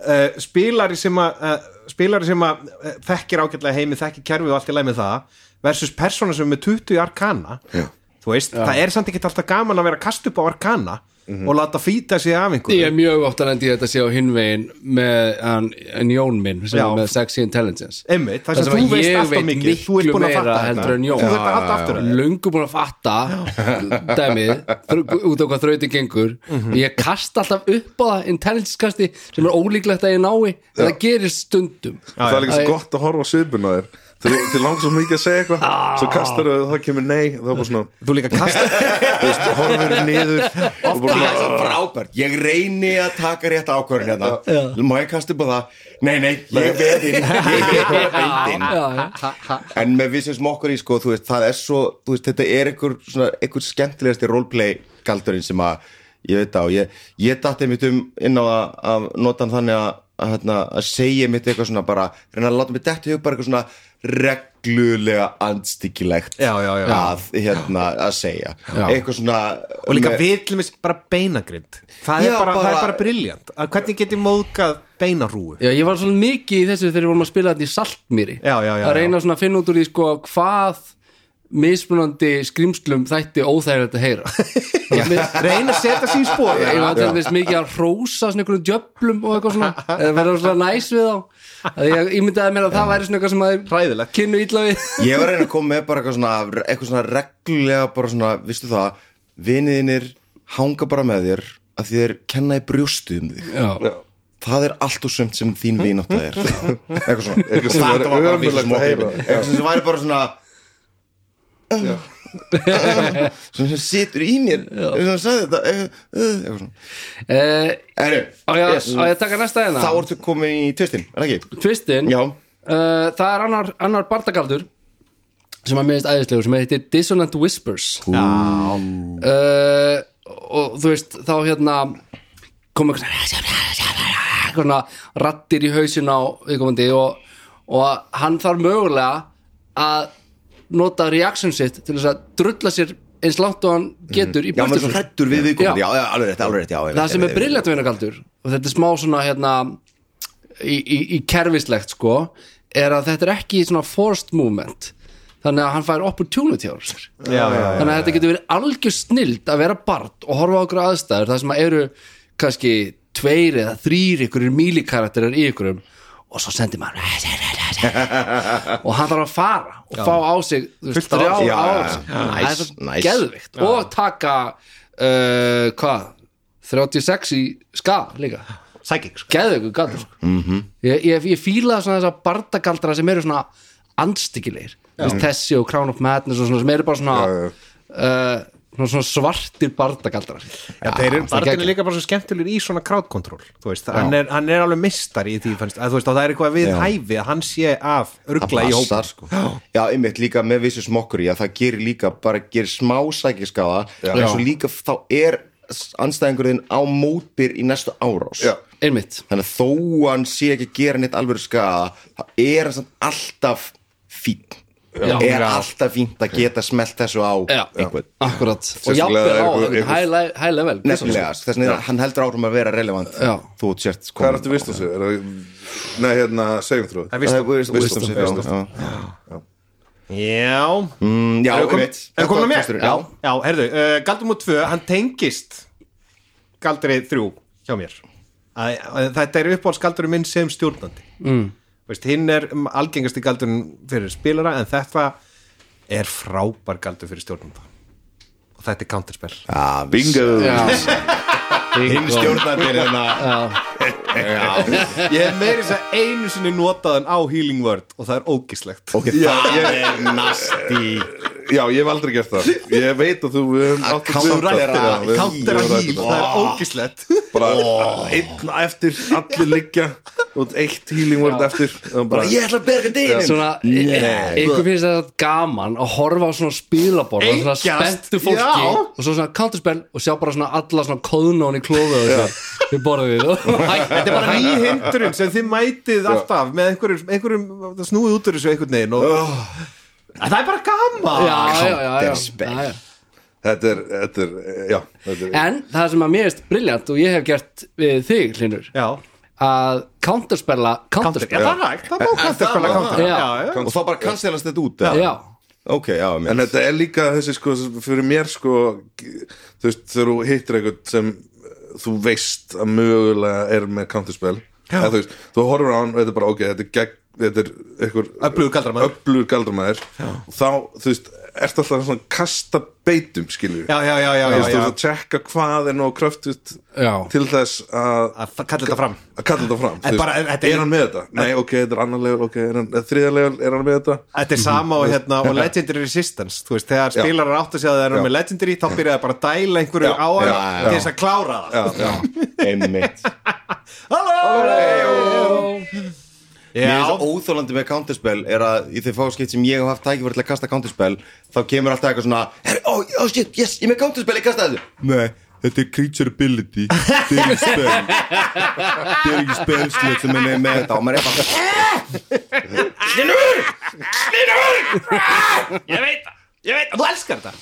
[SPEAKER 2] uh, spilari sem að uh, spilari sem að uh, þekkir ágætlega heimi, þekkir kerfið og allt í læg með það versus persóna sem er með 20 arkana Já. þú veist, það er samt ekki alltaf gaman að vera að kasta upp á arkana
[SPEAKER 1] Mhm.
[SPEAKER 2] og láta fýta sig af einhverju
[SPEAKER 3] ég er mjög oft að lendi í þetta sé á hinvegin með hann, en Jón minn sem
[SPEAKER 2] Já.
[SPEAKER 3] er með sexy intelligence
[SPEAKER 2] einmitt, það sem
[SPEAKER 3] Það sem
[SPEAKER 2] þú
[SPEAKER 3] að
[SPEAKER 2] veist
[SPEAKER 3] ég
[SPEAKER 2] alltaf
[SPEAKER 3] veit
[SPEAKER 2] mikið þú ert
[SPEAKER 3] miklu
[SPEAKER 2] búin að fatta
[SPEAKER 3] meira heldur en Jón.
[SPEAKER 2] þú ert að halda aftur af þér.
[SPEAKER 3] löngu búin að fatta dæmið, þr- út á hvað þrautin gengur
[SPEAKER 2] Mhm.
[SPEAKER 3] ég kasta alltaf upp á það intelligence kasti sem er ólíklegt að ég nái en það gerir stundum
[SPEAKER 4] það er líka
[SPEAKER 3] Æ.
[SPEAKER 4] svo gott að horfa á svipun á þér Þeir, þeir langt svo mikið að segja eitthvað Svo kastar þau og það kemur nei Það er bara svona,
[SPEAKER 2] þú líka
[SPEAKER 1] [LAUGHS]
[SPEAKER 2] kasta
[SPEAKER 4] þú veist, horfir niður Og bara
[SPEAKER 1] Það er svo
[SPEAKER 4] svona,
[SPEAKER 1] frábært, ég reyni að taka rétt ákvörðin hérna Má ég kasta upp á það? Nei, nei, ég er veðinn Ég er bara
[SPEAKER 2] [LAUGHS]
[SPEAKER 1] veðinn En með við sem smokkar í sko, þú veist, það er svo þú veist, Þetta er einhver, svona, einhver skemmtilegasti roleplay galdurinn sem að ég veit á, ég, ég datti mitt um inn á að, að nota hann þannig að að, hérna, að segja mitt eitthvað svona bara reyna að láta mig dettu hug bara eitthvað svona reglulega andstyggilegt
[SPEAKER 2] Já, já, já.
[SPEAKER 1] að hérna að segja eitthvað svona
[SPEAKER 2] og líka
[SPEAKER 1] með-
[SPEAKER 2] við til dæmis bara beinagrind það er
[SPEAKER 1] Já,
[SPEAKER 2] bara, það er
[SPEAKER 1] bara-
[SPEAKER 2] bara briljant hvernig get ég móðgað beinarúu
[SPEAKER 3] Já, ég var svolítið mikið í þessu þegar við vorum að spila þetta í saltmýri
[SPEAKER 2] Já, já, já,
[SPEAKER 3] að
[SPEAKER 2] já.
[SPEAKER 3] reyna svona að finna út úr því sko hvað mismunandi skrimslum þætti óþægilegt að
[SPEAKER 2] [LAUGHS]
[SPEAKER 3] heyra ég var-
[SPEAKER 2] reyna að setja sig í spór
[SPEAKER 3] ég var til þess mikið að hrósa svona einhverjum djöflum og eitthvað svona eða verða svona næs við þá að ég ímyndaði mér að það væri svona eitthvað sem að
[SPEAKER 2] Hræðilegt.
[SPEAKER 3] kynnu illa við [LAUGHS]
[SPEAKER 1] Ég var að reyna að koma með bara eitthvað svona, eitthvað svona reglulega bara svona, vistu það, viniðinir hanga bara með þér að þér kenna í brjóstu um þig.
[SPEAKER 3] já,
[SPEAKER 1] Það er allt og sumt sem þín vinátta er. Eitthvað svona.
[SPEAKER 4] Eitthvað
[SPEAKER 1] Þetta
[SPEAKER 4] sem væri
[SPEAKER 1] var bara
[SPEAKER 4] ömurlegt
[SPEAKER 1] vísum
[SPEAKER 4] að heyra.
[SPEAKER 1] okkur. Eitthvað sem væri bara svona... [LAUGHS] Svona sem situr í mér. Eitthvað sem sagði þetta. eitthvað- Eitthvað svona.
[SPEAKER 3] Eh,
[SPEAKER 1] Erðu,
[SPEAKER 3] á ég á ég að taka næsta hérna
[SPEAKER 1] þá ertu komin í tvistin, er það ekki?
[SPEAKER 3] Tvistin
[SPEAKER 1] Já.
[SPEAKER 3] Eh, Það er annar, annar bardagaldur sem að miðist æðislegur sem heitir Dissonant Whispers Já Og þú veist þá hérna kom eitthvað svona- svona rattir í hausin á viðkomandi og, og hann þarf mögulega að nota reaction sitt til þess að drulla sér eins langt og hann getur í
[SPEAKER 1] Já, maður er svo
[SPEAKER 3] burtu.
[SPEAKER 1] hrættur við viðkomandi.
[SPEAKER 3] Já.
[SPEAKER 1] Já, já, alveg rétt, alveg rétt, já. ég veit,
[SPEAKER 3] það sem
[SPEAKER 1] ég
[SPEAKER 3] er
[SPEAKER 1] veit, ég veit.
[SPEAKER 3] briljant vinagaldur og þetta er smá svona hérna í, í, í kerfislegt sko er að þetta er ekki svona forced movement þannig að hann fær opportunity á sér
[SPEAKER 2] já, já,
[SPEAKER 3] þannig að þetta getur verið algjör snild að vera barn og horfa á okkur aðstæður það sem að eru kannski tveir eða þrýr ykkur mýlikarakterar í ykkurum og svo sendir maður [LAUGHS] og hann þarf að fara og fá á sig þú veist,
[SPEAKER 2] Fullt af
[SPEAKER 3] þrjá
[SPEAKER 1] orð. Já,
[SPEAKER 3] ára
[SPEAKER 1] já, já. Nice, nice.
[SPEAKER 3] geðvikt og taka uh, hvað 36 í skaf líka
[SPEAKER 2] Psychic, sko.
[SPEAKER 3] geðvikt galdur sko. ég, ég, ég fíla svona þessa bardagaldra sem eru svona andstyggilegir Þú veist, Tessi og Crown of Madness og svona sem eru bara svona
[SPEAKER 4] já.
[SPEAKER 3] uh, svona, svona svartir bardagaldrar
[SPEAKER 2] Já, þeir eru Bartin
[SPEAKER 3] geggjað.
[SPEAKER 2] er líka bara svo skemmtilegur í svona crowdkontroll þú veist, hann er, hann er alveg mistari í því fannst, að, þú veist, að það er eitthvað við
[SPEAKER 1] Já.
[SPEAKER 2] hæfi að hann sé af ruggla í hópa
[SPEAKER 1] sko. já, einmitt líka með vissu smokkur í að það gerir líka, bara gerir smá sækiskaða en svo líka þá er anstæðingurinn á mótbyr í næstu árás
[SPEAKER 4] Já.
[SPEAKER 3] einmitt
[SPEAKER 1] þannig að þó hann sé ekki að gera neitt alveg skaða, þá er hann samt alltaf fín
[SPEAKER 3] Já.
[SPEAKER 1] er
[SPEAKER 3] Já.
[SPEAKER 1] alltaf fínt að geta smelt þessu á
[SPEAKER 3] Já.
[SPEAKER 1] einhvern
[SPEAKER 3] akkurat og
[SPEAKER 4] Sérstaklega
[SPEAKER 3] jafnvel á
[SPEAKER 4] ykkur-
[SPEAKER 3] einhvern
[SPEAKER 4] ykkur-
[SPEAKER 3] high le- high level
[SPEAKER 1] nefnilega, þess vegna er- hann heldur áfram að vera relevant
[SPEAKER 3] Já.
[SPEAKER 1] þú sért
[SPEAKER 4] hvað er þetta vist á sig? Er það- Nei, hérna, segjum þrjóð
[SPEAKER 2] Það er víst-
[SPEAKER 1] Wisdom,
[SPEAKER 4] Wisdom,
[SPEAKER 1] já,
[SPEAKER 4] wisdom.
[SPEAKER 1] já.
[SPEAKER 2] Já
[SPEAKER 1] Mm, já,
[SPEAKER 2] Erum
[SPEAKER 1] einmitt.
[SPEAKER 2] við komin að mér?
[SPEAKER 1] Kosturinn, Já,
[SPEAKER 2] Já, herðu, uh, Galdum og 2, hann tengist Galdri 3 hjá mér að, að, Þetta er uppáhaldsgaldurinn minn sem stjórnandi mm. Veist, hinn er um, algengasti galdurinn fyrir spilara en þetta er frábær galdur fyrir stjórnanda og þetta er counterspell
[SPEAKER 1] Ah,
[SPEAKER 4] Bingo
[SPEAKER 1] Hinn stjórnandi hérna
[SPEAKER 2] Ég hef meiri þess að einu sinni notaðan á Healing Word og það er ógislegt
[SPEAKER 1] Ok, það er nasty
[SPEAKER 4] Já, ég hef aldrei gert það Ég veit að þú við höfum átt að
[SPEAKER 1] countera-
[SPEAKER 4] við höfum
[SPEAKER 1] countera
[SPEAKER 4] rætt
[SPEAKER 1] heel,
[SPEAKER 4] þetta.
[SPEAKER 1] það er ógislegt
[SPEAKER 4] Bara einn eftir, allir liggja og eitt healing word eftir og bara,
[SPEAKER 1] Ég ætla að berga dýnum
[SPEAKER 3] svona, e- ykkur finnst þetta gaman að horfa á svona spilaborð og svona
[SPEAKER 1] Einkast,
[SPEAKER 3] spenntu fólki
[SPEAKER 1] já.
[SPEAKER 3] og svo svona counterspell og sjá bara svona alla svona kóðnón í klóðu og svona við borðið og
[SPEAKER 2] Þetta er
[SPEAKER 4] [LAUGHS]
[SPEAKER 2] bara ný hindrun sem þið mætið alltaf með einhverjum, einhverjum snúið út úr þessu einhvern veginn og
[SPEAKER 4] Oh.
[SPEAKER 2] Það er bara gaman
[SPEAKER 3] já, já, já, já,
[SPEAKER 1] Counterspell.
[SPEAKER 3] já, já.
[SPEAKER 4] þetta er, þetta er, eh, já þetta er,
[SPEAKER 3] en það sem að mér erst briljant og ég hef gert við þig Hlinur
[SPEAKER 2] Já,
[SPEAKER 3] að counterspella
[SPEAKER 2] Já,
[SPEAKER 3] counterspell
[SPEAKER 2] það er hægt, það má kantarspela kantar
[SPEAKER 3] Já.
[SPEAKER 2] já, já.
[SPEAKER 1] Og þá bara kanselast þetta út eða?
[SPEAKER 3] já,
[SPEAKER 1] Ok, já,
[SPEAKER 4] en
[SPEAKER 1] mér
[SPEAKER 4] þetta er líka þessi sko fyrir mér sko þú veist, þegar þú hittir eitthvað sem þú veist að mögulega er með counterspell eða, þú, veist, þú horfir á hann og þetta er bara ok þetta er, gegn, þetta er einhver
[SPEAKER 2] Öflugur galdramaður.
[SPEAKER 4] öflugur galdramaður. þá þú veist, ertu alltaf svona að kasta beitum skilur
[SPEAKER 2] Já, já, já, já, já,
[SPEAKER 4] þú veist, þú
[SPEAKER 2] já.
[SPEAKER 4] ert að tjekka hvað er nóg kröftut
[SPEAKER 3] Já.
[SPEAKER 4] til þess að
[SPEAKER 2] Að f- kalla þetta fram.
[SPEAKER 4] að kalla þetta fram Þú veist,
[SPEAKER 2] bara,
[SPEAKER 4] er,
[SPEAKER 2] þetta er-
[SPEAKER 4] hann með þetta? Nei, ok, þetta er annar level, ok, er hann, þriðja level, er hann með þetta?
[SPEAKER 2] Þetta er sama og, hérna, og Legendary Resistance Þú veist, þegar spilarar átt að segja að það eru
[SPEAKER 4] Já.
[SPEAKER 2] með Legendary þá byrjaði bara að dæla einhverju
[SPEAKER 4] Já,
[SPEAKER 2] á hann
[SPEAKER 4] já, já.
[SPEAKER 2] til þess að klára það
[SPEAKER 4] Já, já.
[SPEAKER 1] Einmitt
[SPEAKER 2] Halló!
[SPEAKER 1] Mér er
[SPEAKER 2] Já,
[SPEAKER 1] svo óþólandi með counterspell er að í þeir fá skipt sem ég hef haft tækifæri til að kasta counterspell þá kemur alltaf eitthvað svona "Herri, oh, oh shit, yes, ég er með counterspell, ég kasta þessu Nei, þetta er creature ability þetta er ekki spell þetta er ekki spell slot sem er með- með þetta og maður er bara
[SPEAKER 2] ég veit það, ég veit það, þú elskar þetta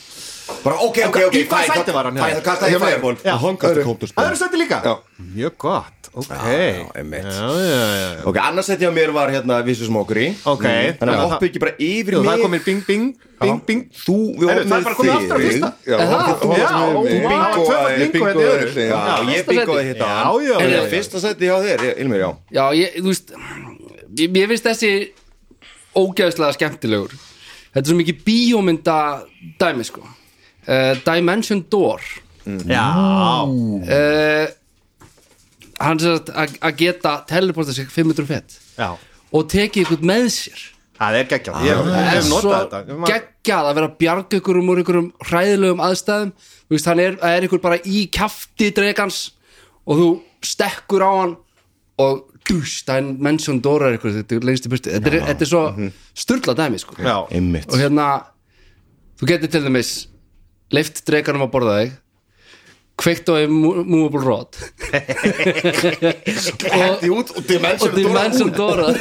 [SPEAKER 1] bara ok, ok, ok,
[SPEAKER 2] Í hvað
[SPEAKER 1] fine,
[SPEAKER 2] sæti var hann,
[SPEAKER 1] fine,
[SPEAKER 2] já?
[SPEAKER 1] þá kasta ég fireball
[SPEAKER 2] Já.
[SPEAKER 1] hann kasta
[SPEAKER 2] Það
[SPEAKER 1] counterspell
[SPEAKER 2] eru sætti líka?
[SPEAKER 4] Já.
[SPEAKER 2] Mjög gott, ok
[SPEAKER 1] já, einmitt.
[SPEAKER 2] já, já, já.
[SPEAKER 1] ok, annars setja á mér var hérna vissu smókri
[SPEAKER 2] Ok.
[SPEAKER 1] þannig
[SPEAKER 2] Já,
[SPEAKER 1] að hoppa
[SPEAKER 2] það-
[SPEAKER 1] ekki bara yfir
[SPEAKER 2] Jú,
[SPEAKER 1] mig
[SPEAKER 2] það komir bing, bing, bing, bing
[SPEAKER 1] þú, við
[SPEAKER 2] Heyrðu, það er bara
[SPEAKER 1] hoppum
[SPEAKER 2] komið aftur á
[SPEAKER 1] þig
[SPEAKER 2] fyrsta.
[SPEAKER 4] Já,
[SPEAKER 1] þú
[SPEAKER 2] Já,
[SPEAKER 1] varst með
[SPEAKER 2] ó,
[SPEAKER 1] mig.
[SPEAKER 2] vá,
[SPEAKER 1] Bingo,
[SPEAKER 2] tvöfalt
[SPEAKER 1] eh,
[SPEAKER 2] bingo
[SPEAKER 4] bingo
[SPEAKER 2] hérna í
[SPEAKER 4] er
[SPEAKER 2] öðru.
[SPEAKER 4] hliðin.
[SPEAKER 1] Já,
[SPEAKER 3] Já,
[SPEAKER 1] ég
[SPEAKER 3] fyrsta
[SPEAKER 1] bingoði
[SPEAKER 3] sæti.
[SPEAKER 1] þetta
[SPEAKER 2] Já, já,
[SPEAKER 1] En
[SPEAKER 2] já,
[SPEAKER 1] er
[SPEAKER 2] já.
[SPEAKER 1] fyrsta sæti hjá þér, Ilmir, já
[SPEAKER 3] já, ég, þú veist ég, ég finnst þessi ógæðslega skemmtilegur þetta er svo mikið bíómynda dæmi sko uh, Dimension Door
[SPEAKER 2] Já,
[SPEAKER 3] uh, hann sem sagt að að geta teleporta sig 500 fett
[SPEAKER 2] já
[SPEAKER 3] og tekið ykkur með sér
[SPEAKER 2] Það er geggjað,
[SPEAKER 1] Ah.
[SPEAKER 2] ég hef- ég
[SPEAKER 3] Það
[SPEAKER 2] hef
[SPEAKER 3] er svo
[SPEAKER 2] notað þetta Ef maður-
[SPEAKER 3] geggjað að vera að bjarga ykkur um úr ykkur um hræðilegum aðstæðum þú veist, hann er, það er ykkur bara í kjafti dregans og þú stekkur á hann og dús, það er mennsjón dórar ykkur þetta er lengst í burtu, þetta, er- þetta er svo sturla dæmi sko
[SPEAKER 2] Já,
[SPEAKER 1] Einmitt
[SPEAKER 3] og hérna þú getur til dæmis leift dreganum að borða þig kveikt á einn movable rod
[SPEAKER 1] Hendi út og Dimension
[SPEAKER 3] og Dimension Dora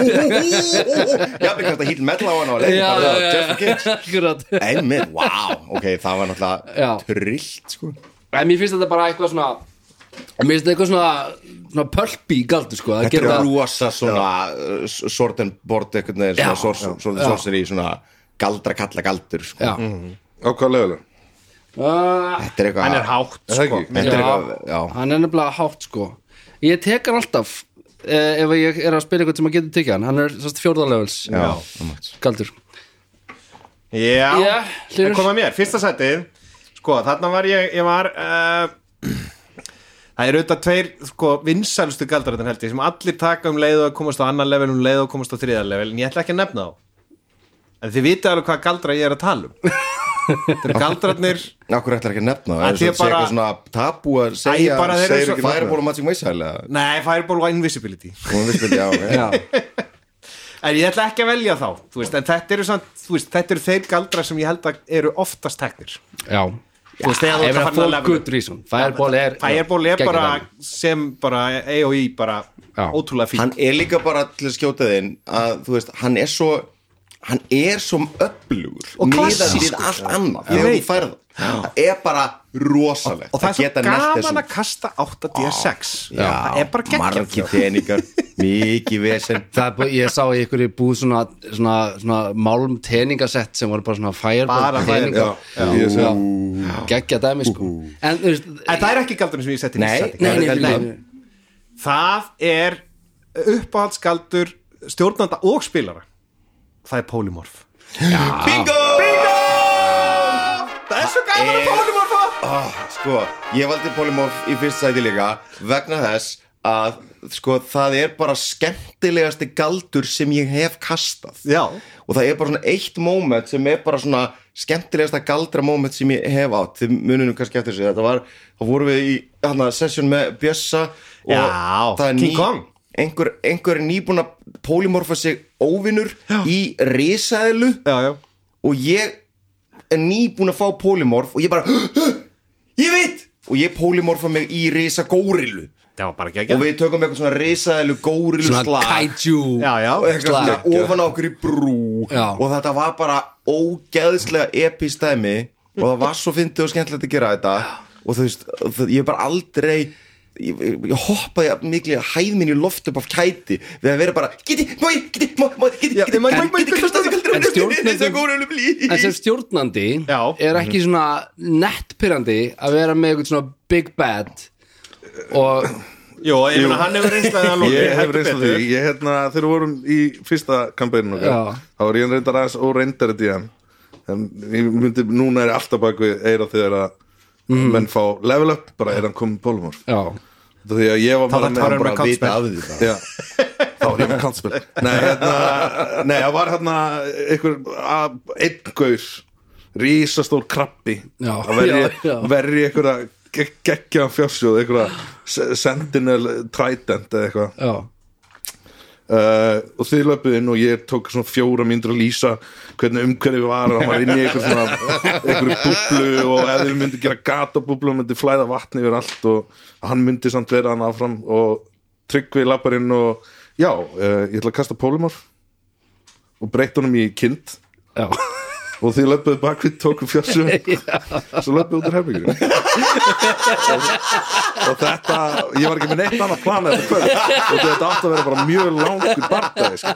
[SPEAKER 1] Já, við kannast að hýl metla á hann og leiði
[SPEAKER 3] já,
[SPEAKER 1] bara
[SPEAKER 3] já,
[SPEAKER 1] það,
[SPEAKER 3] já,
[SPEAKER 1] just for kicks
[SPEAKER 3] akkurat
[SPEAKER 1] Einmitt, wow, ok, það var náttúrulega
[SPEAKER 3] Já.
[SPEAKER 1] trillt, sko
[SPEAKER 3] en mér finnst þetta bara eitthvað svona mér finnst þetta eitthvað svona, svona pölpi í galdu sko að
[SPEAKER 1] Þetta
[SPEAKER 3] geta
[SPEAKER 1] er rosa svona uh, s- sword and board, eitthvað neður,
[SPEAKER 3] Já.
[SPEAKER 1] svona sors- sword and sorcery, svona galdra kalla galdur, sko
[SPEAKER 3] já,
[SPEAKER 4] Á hvað level?
[SPEAKER 3] uh,
[SPEAKER 1] Þetta er eitthvað
[SPEAKER 2] hann er hátt,
[SPEAKER 4] Er það
[SPEAKER 2] sko
[SPEAKER 4] ekki?
[SPEAKER 1] Þetta er eitthvað,
[SPEAKER 3] já,
[SPEAKER 1] já
[SPEAKER 3] hann er nefnilega hátt sko ég tek hann alltaf eh, ef ég er að spila eitthvað sem að geta tekið hann hann er sást fjórðalevels galdur
[SPEAKER 2] Já,
[SPEAKER 3] Já,
[SPEAKER 2] það
[SPEAKER 3] Hlynur.
[SPEAKER 2] kom að mér, fyrsta sætið Sko, þarna var ég, ég var uh, [CLEARS THROAT] Það eru auðvitað tveir sko, vinsælustu galdrarinn held ég sem allir taka um leið og komast á annan level um leið og komast á þriða level en ég ætla ekki að nefna þá En þið vitið alveg hvað galdra ég er að tala um Þetta
[SPEAKER 3] [LAUGHS]
[SPEAKER 2] eru galdrarnir
[SPEAKER 1] Akkur ætlar ekki að nefna,
[SPEAKER 2] Að
[SPEAKER 1] það er
[SPEAKER 2] því
[SPEAKER 1] svo-
[SPEAKER 2] að
[SPEAKER 1] sé
[SPEAKER 2] bara-
[SPEAKER 1] eitthvað svona tabú að segja
[SPEAKER 2] bara þeir eru
[SPEAKER 1] segir
[SPEAKER 2] svo-
[SPEAKER 1] ekki nafnið. Fireball og Magic Missile eða?
[SPEAKER 2] Nei, Fireball og Invisibility
[SPEAKER 1] Hún vissi þetta, já,
[SPEAKER 2] [LAUGHS]
[SPEAKER 1] ok.
[SPEAKER 3] já,
[SPEAKER 2] En ég ætla ekki að velja þá þú veist, En þetta eru, samt, þú veist, þetta eru þeir galdrar sem ég held að eru oftast teknir
[SPEAKER 3] já
[SPEAKER 2] Þú veist, þegar þú
[SPEAKER 3] ef
[SPEAKER 2] ert að
[SPEAKER 3] það
[SPEAKER 2] fara að
[SPEAKER 3] fór
[SPEAKER 2] levela upp.
[SPEAKER 3] good reason fireball er
[SPEAKER 2] Fireball er
[SPEAKER 3] geggjað
[SPEAKER 2] bara
[SPEAKER 3] dæmi.
[SPEAKER 2] sem bara AOE bara
[SPEAKER 3] Já.
[SPEAKER 2] ótrúlega fín
[SPEAKER 1] hann er líka bara til að skjóta þinn að þú veist, hann er svo hann er svo öflugur
[SPEAKER 2] Og
[SPEAKER 1] miðað
[SPEAKER 2] klassískur.
[SPEAKER 1] við allt annað
[SPEAKER 2] Ég
[SPEAKER 1] þegar þú
[SPEAKER 2] veit.
[SPEAKER 1] færð það það er bara rosalegt
[SPEAKER 2] og það er svo
[SPEAKER 1] geta neglt
[SPEAKER 2] gaman
[SPEAKER 1] þessum-
[SPEAKER 2] að kasta 8D6
[SPEAKER 1] Já,
[SPEAKER 2] það er bara
[SPEAKER 1] margir
[SPEAKER 2] geggjað sko.
[SPEAKER 1] peningar, mikið vesen
[SPEAKER 3] Það er bara, ég sá í ykkur í búð svona, svona, svona málum teningasett sem voru bara svona fireball
[SPEAKER 2] Bara
[SPEAKER 4] Já,
[SPEAKER 3] teningar
[SPEAKER 4] ég sé það
[SPEAKER 3] geggja dæmi sko en þú veist,
[SPEAKER 2] en það er ekki galdurinn sem ég setti í
[SPEAKER 1] Nei,
[SPEAKER 2] sæti.
[SPEAKER 3] nei, nei,
[SPEAKER 1] Þetta er
[SPEAKER 3] nei,
[SPEAKER 1] bara-
[SPEAKER 3] nei.
[SPEAKER 2] það er uppáhaldsgaldur stjórnanda og spilara það er polymorf
[SPEAKER 1] bingo!
[SPEAKER 2] það er svo gaman að polymorfa
[SPEAKER 1] Ah, sko, ég valdi Polymorph í fyrst sæti líka vegna þess að sko, það er bara skemmtilegasti galdur sem ég hef kastað
[SPEAKER 2] Já.
[SPEAKER 1] og það er bara svona eitt moment sem er bara svona skemmtilegasta galdra moment sem ég hef átt þið munum nú kannski eftir þessu þetta var, þá vorum við í hana, session með Bjössa og
[SPEAKER 2] Já,
[SPEAKER 1] það er
[SPEAKER 2] King Kong.
[SPEAKER 1] einhver, einhver er nýbúin að pólymorfa sig óvinnur í risaðilu
[SPEAKER 2] Já, já
[SPEAKER 1] og ég er nýbúin að fá pólymorf og ég bara [GASPS] ég veit og ég pólymorfa mig í risa górilu
[SPEAKER 2] Það var bara ekki
[SPEAKER 1] og við tökum eitthvað svona risaðilu górilu
[SPEAKER 3] svona
[SPEAKER 1] slag
[SPEAKER 3] kaiju
[SPEAKER 2] Já, já
[SPEAKER 1] og eitthvað
[SPEAKER 3] Slag.
[SPEAKER 1] svona ofan á okkur í brú
[SPEAKER 3] Já.
[SPEAKER 1] og þetta var bara ógeðslega epistæmi og það var svo fyndið og skemmtilegt að gera þetta og þú veist, það, ég hef bara aldrei ég, ég, ég hoppaði jafn mikið að hæð minni í loft upp af kæti við að vera bara, geti, mói, geti, mói geti, geti, mói, mói, geti, kastaði kaldur
[SPEAKER 3] En stjórnendum- en sem stjórnandi
[SPEAKER 2] Já. Mhm.
[SPEAKER 3] er ekki svona nettpyrrandi að vera með eitthvað svona big bad og
[SPEAKER 2] Jó, ég meina hann hefur reynslaði að lóka
[SPEAKER 4] ég hef reynslu því ég, hérna, þegar við vorum í fyrsta kampænin
[SPEAKER 3] Já.
[SPEAKER 4] okkar, þá var ég reyndar aðeins óreindari í hann en ég myndi, núna er ég alltaf bak við eira þegar að menn fá level up, bara er hann komið pólumor
[SPEAKER 3] já,
[SPEAKER 4] því að ég var
[SPEAKER 2] Þá
[SPEAKER 4] bara
[SPEAKER 2] þarf hann
[SPEAKER 4] bara
[SPEAKER 2] með kantspil.
[SPEAKER 4] að- Já. þá var ég með kantspil nei, hérna, nei, það var hérna einhver, að- einn gaur rísastór krabbi
[SPEAKER 3] Já.
[SPEAKER 4] að verja,
[SPEAKER 3] Já, já.
[SPEAKER 4] verja einhverja geg- geggjaðan fjársjóð einhverja se- sentinel trident eða eitthvað
[SPEAKER 3] já,
[SPEAKER 4] uh, og þið löpuð inn og ég tók svona fjóra myndur að lýsa hvernig umhverfið var og hann var inn í einhver svona einhverju búblu og ef þið myndi gera gata búblu myndi flæða vatni yfir allt og hann myndi samt vera hann áfram og tryggvi lapparinn og já, uh, ég ætla að kasta pólumor og breytt honum í kind
[SPEAKER 3] já
[SPEAKER 4] og þið löpuðu bakvið tóku fjössu svo löpuðu út úr herbyggjum og, og þetta ég var ekki með neitt annað plan þetta kvöld og þetta átti að vera bara mjög langur barndagi sko.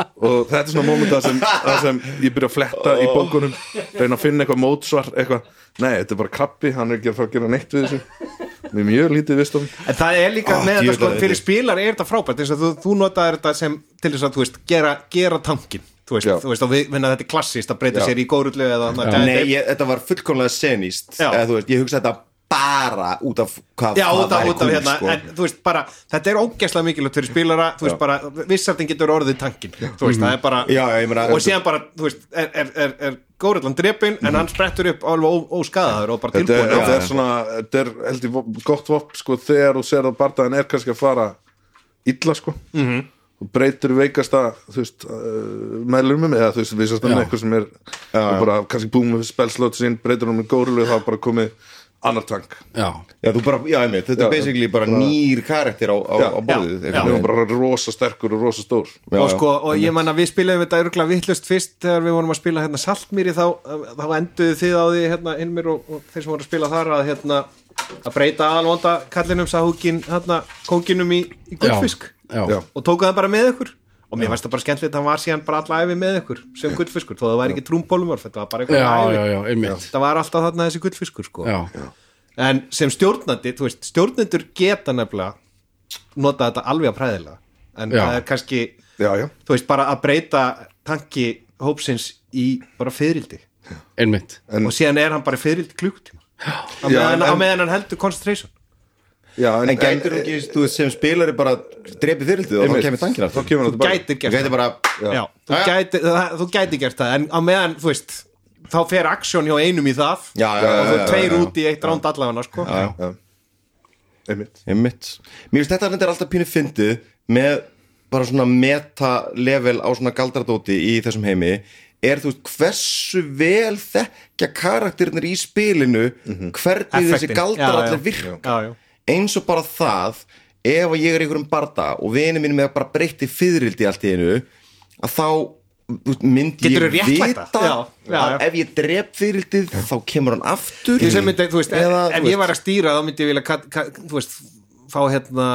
[SPEAKER 4] og þetta er svona moment það sem, það sem ég byrja að fletta í bókunum reyna að finna eitthvað mótsvar eitthvað, nei, þetta er bara krabbi, hann er ekki að fara að gera neitt við þessu með mjög lítið vist um
[SPEAKER 2] En það er líka
[SPEAKER 1] Ah,
[SPEAKER 2] með þetta
[SPEAKER 1] djöfull
[SPEAKER 2] sko,
[SPEAKER 1] er þetta.
[SPEAKER 2] fyrir spílar er þetta frábært eins og þú, þú notaðir þetta sem til þess að þú veist, gera, gera tankin þú veist,
[SPEAKER 4] Já.
[SPEAKER 2] þú veist, og við, menna þetta er klassist að breyta
[SPEAKER 4] Já.
[SPEAKER 2] sér í górullu eða annað giant
[SPEAKER 1] Nei,
[SPEAKER 2] ape.
[SPEAKER 1] ég, þetta var fullkomlega senist
[SPEAKER 2] Já.
[SPEAKER 1] eða, þú veist, ég hugsa þetta bara út af hvað
[SPEAKER 2] Já,
[SPEAKER 1] hvað
[SPEAKER 2] út af,
[SPEAKER 1] væri
[SPEAKER 2] út af
[SPEAKER 1] cool,
[SPEAKER 2] hérna,
[SPEAKER 1] sko.
[SPEAKER 2] en þú veist bara þetta er ógeðslega mikilvægt fyrir spílara þú veist bara, vissartin getur orðið tankin þú veist, það er bara,
[SPEAKER 1] Já, já, ég meina-
[SPEAKER 2] og síðan bara, þú veist, er, er, er, er górillan drepin, en hann sprettur upp alveg ó- óskaðaður og bara
[SPEAKER 4] þetta
[SPEAKER 2] tilbúin
[SPEAKER 4] er, þetta er
[SPEAKER 2] Já.
[SPEAKER 4] svona, þetta er held ég vo- gott vopn sko þegar þú sér að bardaðin er kannski að fara illa sko -hmm. og breytur veikasta þú veist, uh, meðlumum eða þú veist, vissast um eitthvað sem er og bara kannski búið með spelslót sín breytur hann með górilu þá er bara komið annar tank
[SPEAKER 3] já,
[SPEAKER 1] Já, þú bara, já, einmitt, þetta er
[SPEAKER 4] Já,
[SPEAKER 1] basically bara nýr karakter á, á,
[SPEAKER 4] Já.
[SPEAKER 1] á borðið
[SPEAKER 2] Já.
[SPEAKER 1] einhvern
[SPEAKER 4] hann
[SPEAKER 1] veginn.
[SPEAKER 4] er bara rosa sterkur og rosa stór
[SPEAKER 1] Já,
[SPEAKER 2] og
[SPEAKER 1] já.
[SPEAKER 2] sko, og ég manna við spilaðum þetta örgulega vittlust fyrst þegar við vorum að spila hérna Saltmýri þá, þá enduðu þið á því hérna Hilmir og, og þeir sem voru að spila þar að hérna að breyta aðalvonda kallinum sáhúkin, hérna kókinum í, í gullfisk
[SPEAKER 3] já,
[SPEAKER 4] Já.
[SPEAKER 2] og tóku það bara með ykkur og mér fannst það bara skemmtilegt að hann var síðan bara alla æfi með ykkur sem gullfiskur, þó það væri ekki trúmpólumorf þetta var bara
[SPEAKER 3] já,
[SPEAKER 2] eitthvað
[SPEAKER 3] já,
[SPEAKER 2] æfi
[SPEAKER 3] já, einmitt
[SPEAKER 2] það var alltaf þarna þessi gullfiskur sko
[SPEAKER 3] já,
[SPEAKER 2] en sem stjórnandi, þú veist, stjórnendur geta nefnilega nota þetta alveg að præðilega en
[SPEAKER 3] Já.
[SPEAKER 2] það er kannski
[SPEAKER 4] já, já,
[SPEAKER 2] þú veist, bara að breyta tanki hópsins í bara fyririldi
[SPEAKER 3] einmitt
[SPEAKER 4] En-
[SPEAKER 2] og síðan er hann bara í fyririldi klukkutíma á
[SPEAKER 4] Já,
[SPEAKER 2] meðan,
[SPEAKER 4] en-
[SPEAKER 2] á meðan hann heldur concentration
[SPEAKER 4] já en,
[SPEAKER 1] En gætur þú ekki, þú veist, sem spilari bara drepið þyrildið og þá
[SPEAKER 4] einmitt,
[SPEAKER 1] kemur tankina
[SPEAKER 4] þá kemur hann
[SPEAKER 2] þú
[SPEAKER 4] tilbaka.
[SPEAKER 2] gætir
[SPEAKER 1] Þú
[SPEAKER 2] gert
[SPEAKER 1] gætir bara,
[SPEAKER 2] það já, þú, gætir, það, þú gætir gert það en á meðan, þú veist, þá fer aksjón hjá einum í það
[SPEAKER 1] Já, já, já,
[SPEAKER 2] og þú
[SPEAKER 1] já, já, já,
[SPEAKER 2] tveir
[SPEAKER 1] já.
[SPEAKER 2] út í eitt ránd allavega sko.
[SPEAKER 4] einmitt
[SPEAKER 1] einmitt Mér finnst þetta er alltaf pínu fyndið með bara svona meta-level á svona galdradóti í þessum heimi er þú veist, hversu vel þekkja karakterinir í spilinu hvernig þessi
[SPEAKER 2] Effektin. Já,
[SPEAKER 1] galdrallir
[SPEAKER 2] já.
[SPEAKER 1] virka
[SPEAKER 2] Já, já.
[SPEAKER 1] eins og bara það ef að ég er í einhverjum barda og vinið mínum er bara breytti fyririldi allt í einu að þá þú veist, myndi
[SPEAKER 2] Geturðu
[SPEAKER 1] ég
[SPEAKER 2] réttlætt
[SPEAKER 1] vita
[SPEAKER 2] það? Já, já, já.
[SPEAKER 1] að ef ég drep fyririldið þá kemur hann aftur
[SPEAKER 2] Ég sem myndi, þú veist,
[SPEAKER 1] Eða,
[SPEAKER 2] ef,
[SPEAKER 1] þú
[SPEAKER 2] ef ég
[SPEAKER 1] veist-
[SPEAKER 2] var að stýra þá myndi ég vilja, kat- ka- þú veist, fá hérna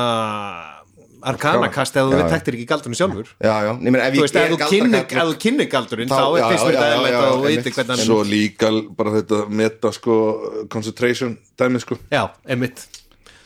[SPEAKER 2] arkanakast eða
[SPEAKER 1] Já,
[SPEAKER 2] þú veit
[SPEAKER 1] já.
[SPEAKER 2] tektir ekki galdurinn sjálfur
[SPEAKER 1] já, já, ég meina ef
[SPEAKER 2] Þú
[SPEAKER 1] ég
[SPEAKER 2] veist, ef
[SPEAKER 1] er
[SPEAKER 2] þú kynnir-
[SPEAKER 1] galdrakarl-
[SPEAKER 2] ef þú kynnir galdurinn
[SPEAKER 1] Þá-
[SPEAKER 2] þá
[SPEAKER 1] já,
[SPEAKER 2] er fyrst
[SPEAKER 1] já,
[SPEAKER 2] mér þetta
[SPEAKER 1] já, já,
[SPEAKER 2] eðlægt og þú
[SPEAKER 1] einmitt.
[SPEAKER 2] veitir hvernig hann
[SPEAKER 4] svo líka bara þetta meta sko concentration dæmi sko
[SPEAKER 2] Já, emitt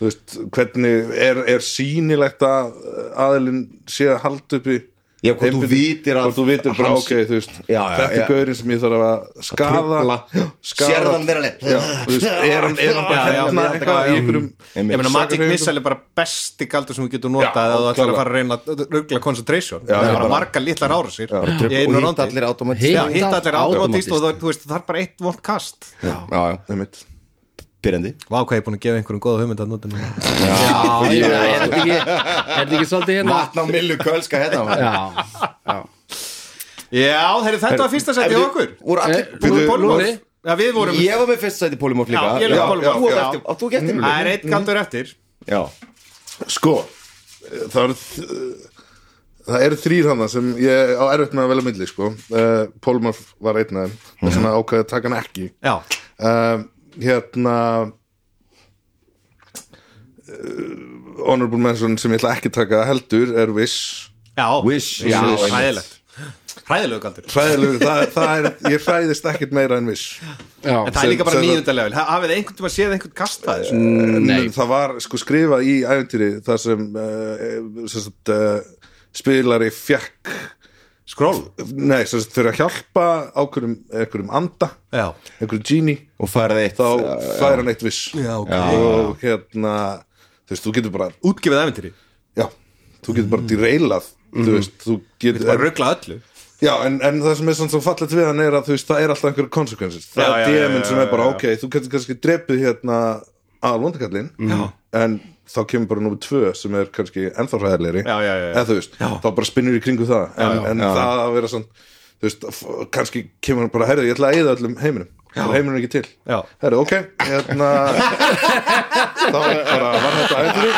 [SPEAKER 4] þú veist, hvernig er, er sýnilegt að aðilinn sé að halda uppi
[SPEAKER 1] Já, hvort þú vitir að-
[SPEAKER 4] hvort þú vitir bara,
[SPEAKER 1] hans-
[SPEAKER 4] ok, þú veist
[SPEAKER 1] Já, já,
[SPEAKER 4] þetta
[SPEAKER 1] já.
[SPEAKER 4] er gaurinn sem ég þarf að skaða
[SPEAKER 1] Trufla.
[SPEAKER 4] skaða
[SPEAKER 5] Sérðan veralegt
[SPEAKER 4] Já, þú veist, er hann, er hann
[SPEAKER 2] Já,
[SPEAKER 4] bara
[SPEAKER 2] já,
[SPEAKER 4] hérna
[SPEAKER 2] já, já.
[SPEAKER 4] eitthvað í einhverjum
[SPEAKER 1] Einmitt.
[SPEAKER 2] Ég meina Magic
[SPEAKER 4] Sakahreyfingum?
[SPEAKER 2] Missile er bara besti galdur sem við getum notað
[SPEAKER 4] Já,
[SPEAKER 2] eða þú ætlar
[SPEAKER 4] klálega.
[SPEAKER 2] að fara að reyna að ruggla concentration
[SPEAKER 4] Já,
[SPEAKER 2] það
[SPEAKER 4] já,
[SPEAKER 2] er bara
[SPEAKER 4] bara-
[SPEAKER 2] marga litlar ára sér
[SPEAKER 1] og
[SPEAKER 2] í einu
[SPEAKER 1] hitt
[SPEAKER 2] rándi
[SPEAKER 1] allir automatist
[SPEAKER 3] Hitt
[SPEAKER 2] Já, hitt allir
[SPEAKER 3] automatist.
[SPEAKER 2] árótist og það, þú veist, það er bara eitt volt kast
[SPEAKER 1] já, já,
[SPEAKER 4] einmitt
[SPEAKER 1] byrjandi
[SPEAKER 2] Vá, hvað ég er búin að gefa einhverjum góða hugmynd að nota núna
[SPEAKER 3] já, já, er þetta ekki er þetta ekki svolítið hérna
[SPEAKER 1] Vatn á millu kölska hérna
[SPEAKER 2] [LAUGHS]
[SPEAKER 1] maður.
[SPEAKER 3] já,
[SPEAKER 2] Já, heyrðu, þetta var fyrsta seti
[SPEAKER 1] Herðu,
[SPEAKER 2] hjá okkur
[SPEAKER 1] voru allir-
[SPEAKER 3] Eh,
[SPEAKER 2] Búin
[SPEAKER 4] byrju,
[SPEAKER 2] Polymorph.
[SPEAKER 3] Lúlli?
[SPEAKER 2] Já, við vorum
[SPEAKER 1] Ég var með fyrst sæti polymorf líka
[SPEAKER 2] Já, ég er með
[SPEAKER 1] já,
[SPEAKER 2] polymorph, já.
[SPEAKER 1] já. Átt þú gett
[SPEAKER 2] Það er eitt galdur eftir
[SPEAKER 1] Já,
[SPEAKER 4] Sko Það eru Það eru þrýr hana sem ég á erfitt með að velja milli sko uh, Pólmar var einn af þeim þess vegna ákveði að taka hann ekki
[SPEAKER 2] Já,
[SPEAKER 4] uh, Hérna uh, eh, Honorable Manson sem ég ætla ekki að taka heldur er Wish
[SPEAKER 2] já,
[SPEAKER 1] Wish.
[SPEAKER 2] já,
[SPEAKER 1] Wish.
[SPEAKER 2] hræðilegt Hræðilegu galdur
[SPEAKER 4] Hræðilegur, það, það er, ég hræðist ekkert meira en Wish
[SPEAKER 3] já,
[SPEAKER 2] En það er
[SPEAKER 4] Sem-
[SPEAKER 2] líka bara
[SPEAKER 4] sem-
[SPEAKER 2] nýjöndalegul Hafið einhvern tíma séð einhvern kasta þessu
[SPEAKER 1] Mm,
[SPEAKER 4] Nei. Eh, það var sko skrifað í æventýri þar sem, uh, sem sagt, uh, spilari fekk
[SPEAKER 2] Skról
[SPEAKER 4] nei, sem sagt, fyrir að hjálpa ákveðum, einhverjum anda
[SPEAKER 2] Já,
[SPEAKER 4] einhverjum genie
[SPEAKER 1] og farið eitt
[SPEAKER 4] þá fær hann eitt viss
[SPEAKER 2] já, ok
[SPEAKER 4] og hérna þú veist, þú getur bara
[SPEAKER 2] Útgefið æfintýri
[SPEAKER 4] já, þú getur
[SPEAKER 2] Mm.
[SPEAKER 4] bara derailað þú veist, þú getur,
[SPEAKER 2] Bara ruggla öllu
[SPEAKER 4] já, en, en það sem er svona svo fallet við hann er að þú veist, það er alltaf einhverjum konsekvensis
[SPEAKER 2] Já,
[SPEAKER 4] það
[SPEAKER 2] já,
[SPEAKER 4] er
[SPEAKER 2] já,
[SPEAKER 4] dæminn
[SPEAKER 2] já,
[SPEAKER 4] sem er bara,
[SPEAKER 2] já, já.
[SPEAKER 4] ok, þú getur kannski drepið hérna að vondakallin en þá kemur bara númer tvö sem er kannski ennþá hræðilegri
[SPEAKER 2] Já, já, já, já.
[SPEAKER 4] eða þú veist, þá bara spinnur í kringu það en, en það að vera svona þú veist, f- kannski kemur hann bara, herðu, ég ætla að eyða öllum heiminum, og heiminum er ekki til
[SPEAKER 2] Já.
[SPEAKER 4] herðu, ok, hérna
[SPEAKER 2] [LAUGHS]
[SPEAKER 4] þá bara var þetta ætlur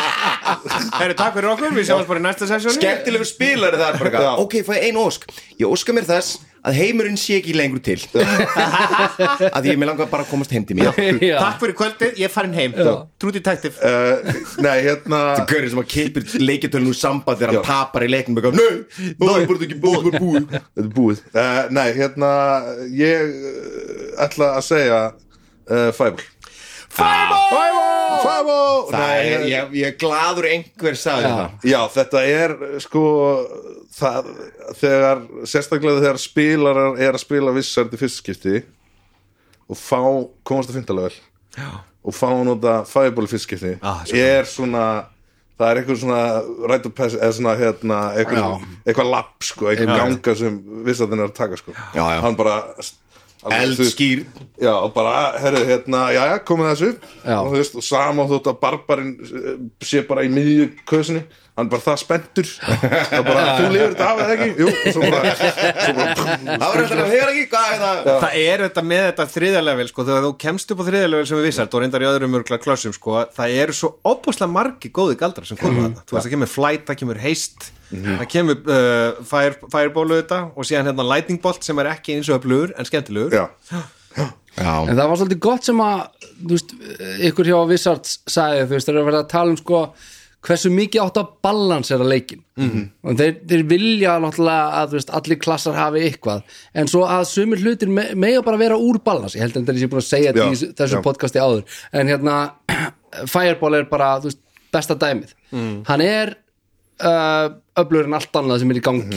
[SPEAKER 2] Herru, takk fyrir okkur, við sjáum bara í næsta sessjónu
[SPEAKER 1] Skemmtilegu spilari það er bara
[SPEAKER 4] Já.
[SPEAKER 1] eitthvað. Ok, fæ ég ein ósk Ég óska mér þess að heimurinn sé ekki lengur til Að ég með langar bara að komast heim til mér
[SPEAKER 3] já,
[SPEAKER 2] Takk fyrir kvöldið, ég er farin heim True Detective
[SPEAKER 4] uh, nei, hérna
[SPEAKER 1] Gaurið sem að keipir leikitölun úr samband þegar hann tapar í leiknum og eitthvað, Nei, það er bara ekki búið, bara búið
[SPEAKER 4] þetta er búið uh, nei, hérna, ég eh, ætla að segja uh, Fæból Fæból Fæból
[SPEAKER 1] Það
[SPEAKER 4] Nei,
[SPEAKER 1] er, ég, ég er gladur einhver sagði það
[SPEAKER 4] Já, þetta er sko það, þegar, sérstaklega þegar spilarar er að spila vissar til fyrstskipti og fá, komast að fyndalega vel og fá að nota fæból í fyrstskipti
[SPEAKER 2] Ah, sjá.
[SPEAKER 4] er svona það er eitthvað svona right of pass eða svona hérna, eitthvað, eitthvað lapp sko, eitthvað ganga sem vissarðin er að taka sko. já, já. hann bara alveg, þú veist,
[SPEAKER 1] Eldskýr
[SPEAKER 4] Já, og bara, herru, hérna, já, já, komið þessu upp.
[SPEAKER 3] Já.
[SPEAKER 4] og þú veist, og sama þótt að barbarinn eh, sé bara í miðju kösinni hann bara það
[SPEAKER 1] [LAUGHS]
[SPEAKER 4] spenntur það bara, þú lifir þetta af eða ekki Jú, og svo bara, svo bara
[SPEAKER 1] Það var alltaf að höra ekki hvað er það
[SPEAKER 2] Það er þetta með þetta þriðalevel sko, þegar þú kemst upp á þriðalevel sem við vissart og reyndar í öðrum örgla klössum sko, það eru svo opúslega margi góði galdrar sem koma þarna þú veist, það kemur flight, það kemur haste það kemur uh, fire, fireballu þetta og síðan hérna lightning bolt sem er ekki eins og öflugur en skemmtilegur
[SPEAKER 4] já,
[SPEAKER 3] en það var svolítið gott sem að þú veist, ykkur hjá Wizards sagði þú veist, þeir eru verið að tala um sko hversu mikið áttu að balansera leikin
[SPEAKER 4] Mhm.
[SPEAKER 3] og þeir, þeir vilja náttúrulega að þú veist, allir klassar hafi eitthvað en svo að sumir hlutir me, mega bara vera úr balans, ég held að þetta er búin að segja þetta
[SPEAKER 4] Já,
[SPEAKER 3] í þessu- þessu
[SPEAKER 4] já.
[SPEAKER 3] podcasti áður en hérna, [CLEARS THROAT] Fireball er bara þú veist, besta dæmið
[SPEAKER 4] Mm.
[SPEAKER 3] hann er uh, öflurinn allt annað sem er í gangi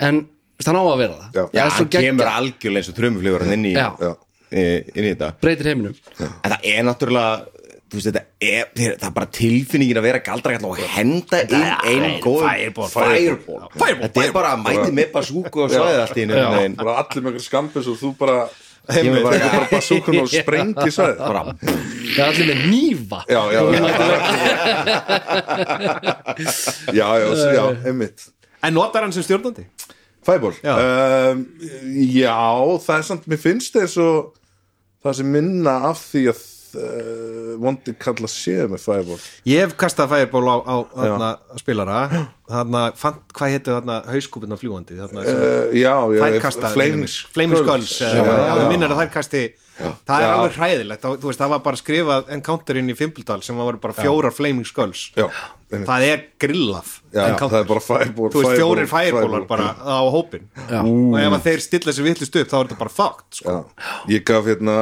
[SPEAKER 3] en þú veist, hann á að vera það
[SPEAKER 4] Mhm. Já.
[SPEAKER 3] Það
[SPEAKER 1] Já,
[SPEAKER 3] er svo
[SPEAKER 1] hann kemur
[SPEAKER 3] geggjað.
[SPEAKER 1] algjörlega eins og þrömmufljóður inn, í-
[SPEAKER 3] Já.
[SPEAKER 4] Já.
[SPEAKER 1] eh, inn í þetta
[SPEAKER 3] breytir heiminum
[SPEAKER 1] En það er náttúrulega þú veist, þetta er, það er bara tilfinningin að vera galdrakall og henda inn einu góð
[SPEAKER 2] fireball,
[SPEAKER 1] fireball.
[SPEAKER 2] Fireball,
[SPEAKER 1] þetta er bara að mæti með basúku og svæði allt í einu einhvern veginn.
[SPEAKER 4] bara allir með einhver skambis og þú bara
[SPEAKER 1] Kemur
[SPEAKER 4] heimveit,
[SPEAKER 1] bara-
[SPEAKER 4] eitthvað bara basúkun
[SPEAKER 1] [LAUGHS]
[SPEAKER 4] og sprengi svæði
[SPEAKER 1] bara,
[SPEAKER 3] það er allir með nýfa
[SPEAKER 4] já,
[SPEAKER 1] [LAUGHS]
[SPEAKER 4] já, já já, já, já, einmitt
[SPEAKER 2] en notar hann sem stjórnandi
[SPEAKER 4] Fæból
[SPEAKER 2] Já.
[SPEAKER 4] um, já, það er samt, mér finnst það svo það sem minna af því að uh, vondi kalla séð með Fæból
[SPEAKER 2] Ég hef kastað fireball á, á þarna, spilara þarna, fann, hvað hétu þarna hauskúpina fljúandi þarna, sem-
[SPEAKER 4] uh, já, já,
[SPEAKER 2] þær kasta
[SPEAKER 4] Flames-
[SPEAKER 2] Flamerskulls minnar eh, að þær kasti það er
[SPEAKER 4] Já.
[SPEAKER 2] alveg hræðilegt það, þú veist, það var bara skrifað encounterinn í Fimbledal sem var bara fjórar Flamerskulls
[SPEAKER 4] já, einmitt.
[SPEAKER 2] það er grillað
[SPEAKER 4] já,
[SPEAKER 2] encounter.
[SPEAKER 4] það er bara Fæból
[SPEAKER 2] þú veist fjórir fireballar bara á hópin og ef að þeir stilla sér vittlust upp þá er þetta bara fakt sko.
[SPEAKER 4] já. ég gaf hérna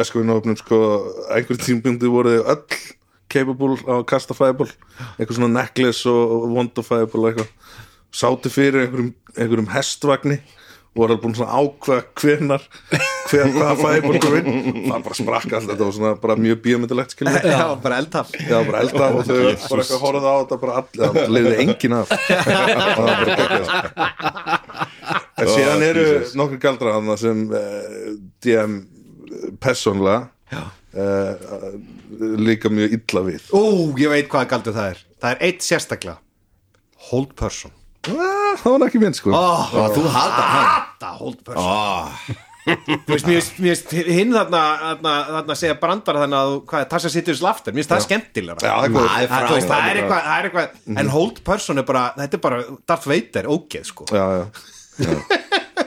[SPEAKER 4] eskofinu sko einhver tímbundi voru þau öll capable á að kasta Fæból eitthvað svona necklace og, og wond og Fæból eitthvað sátu fyrir einhverjum, einhverjum hestvagni og var alveg búin svona að ákveða hvenar hver hvað fæði búin og það bara sprakk alltaf þetta var svona bara mjög bíómyndilegt skilur við.
[SPEAKER 2] Já, bara eldtaf
[SPEAKER 4] Já, bara elda og þau bara eitthvað horfðu á þetta bara allir, það leiði engin af það var bara geggjað, sko. en síðan eru nokkur galdra þarna sem uh, DM persónlega uh, líka mjög illa við
[SPEAKER 2] Ó, ég veit hvaða galdur það er Það er eitt sérstaklega Hold person
[SPEAKER 4] Ah, það var ekki minn sko
[SPEAKER 2] oh,
[SPEAKER 1] Ó, þú hatar hann
[SPEAKER 2] Hata hold person
[SPEAKER 1] "Ah."
[SPEAKER 2] Þú veist, mér finnst- mér finnst hinn þarna, þarna, þarna segja brandara þannig að þú- hvað er Tassa Sittus Lafter, mér finnst það skemmtilegra
[SPEAKER 4] Já, það er
[SPEAKER 2] Þú
[SPEAKER 4] góð.
[SPEAKER 2] veist,
[SPEAKER 1] Það er
[SPEAKER 2] það,
[SPEAKER 1] frábært.
[SPEAKER 2] er eitthvað, það er eitthvað En hold person er bara, þetta er bara Darth Vader, ógeð sko
[SPEAKER 4] já, já.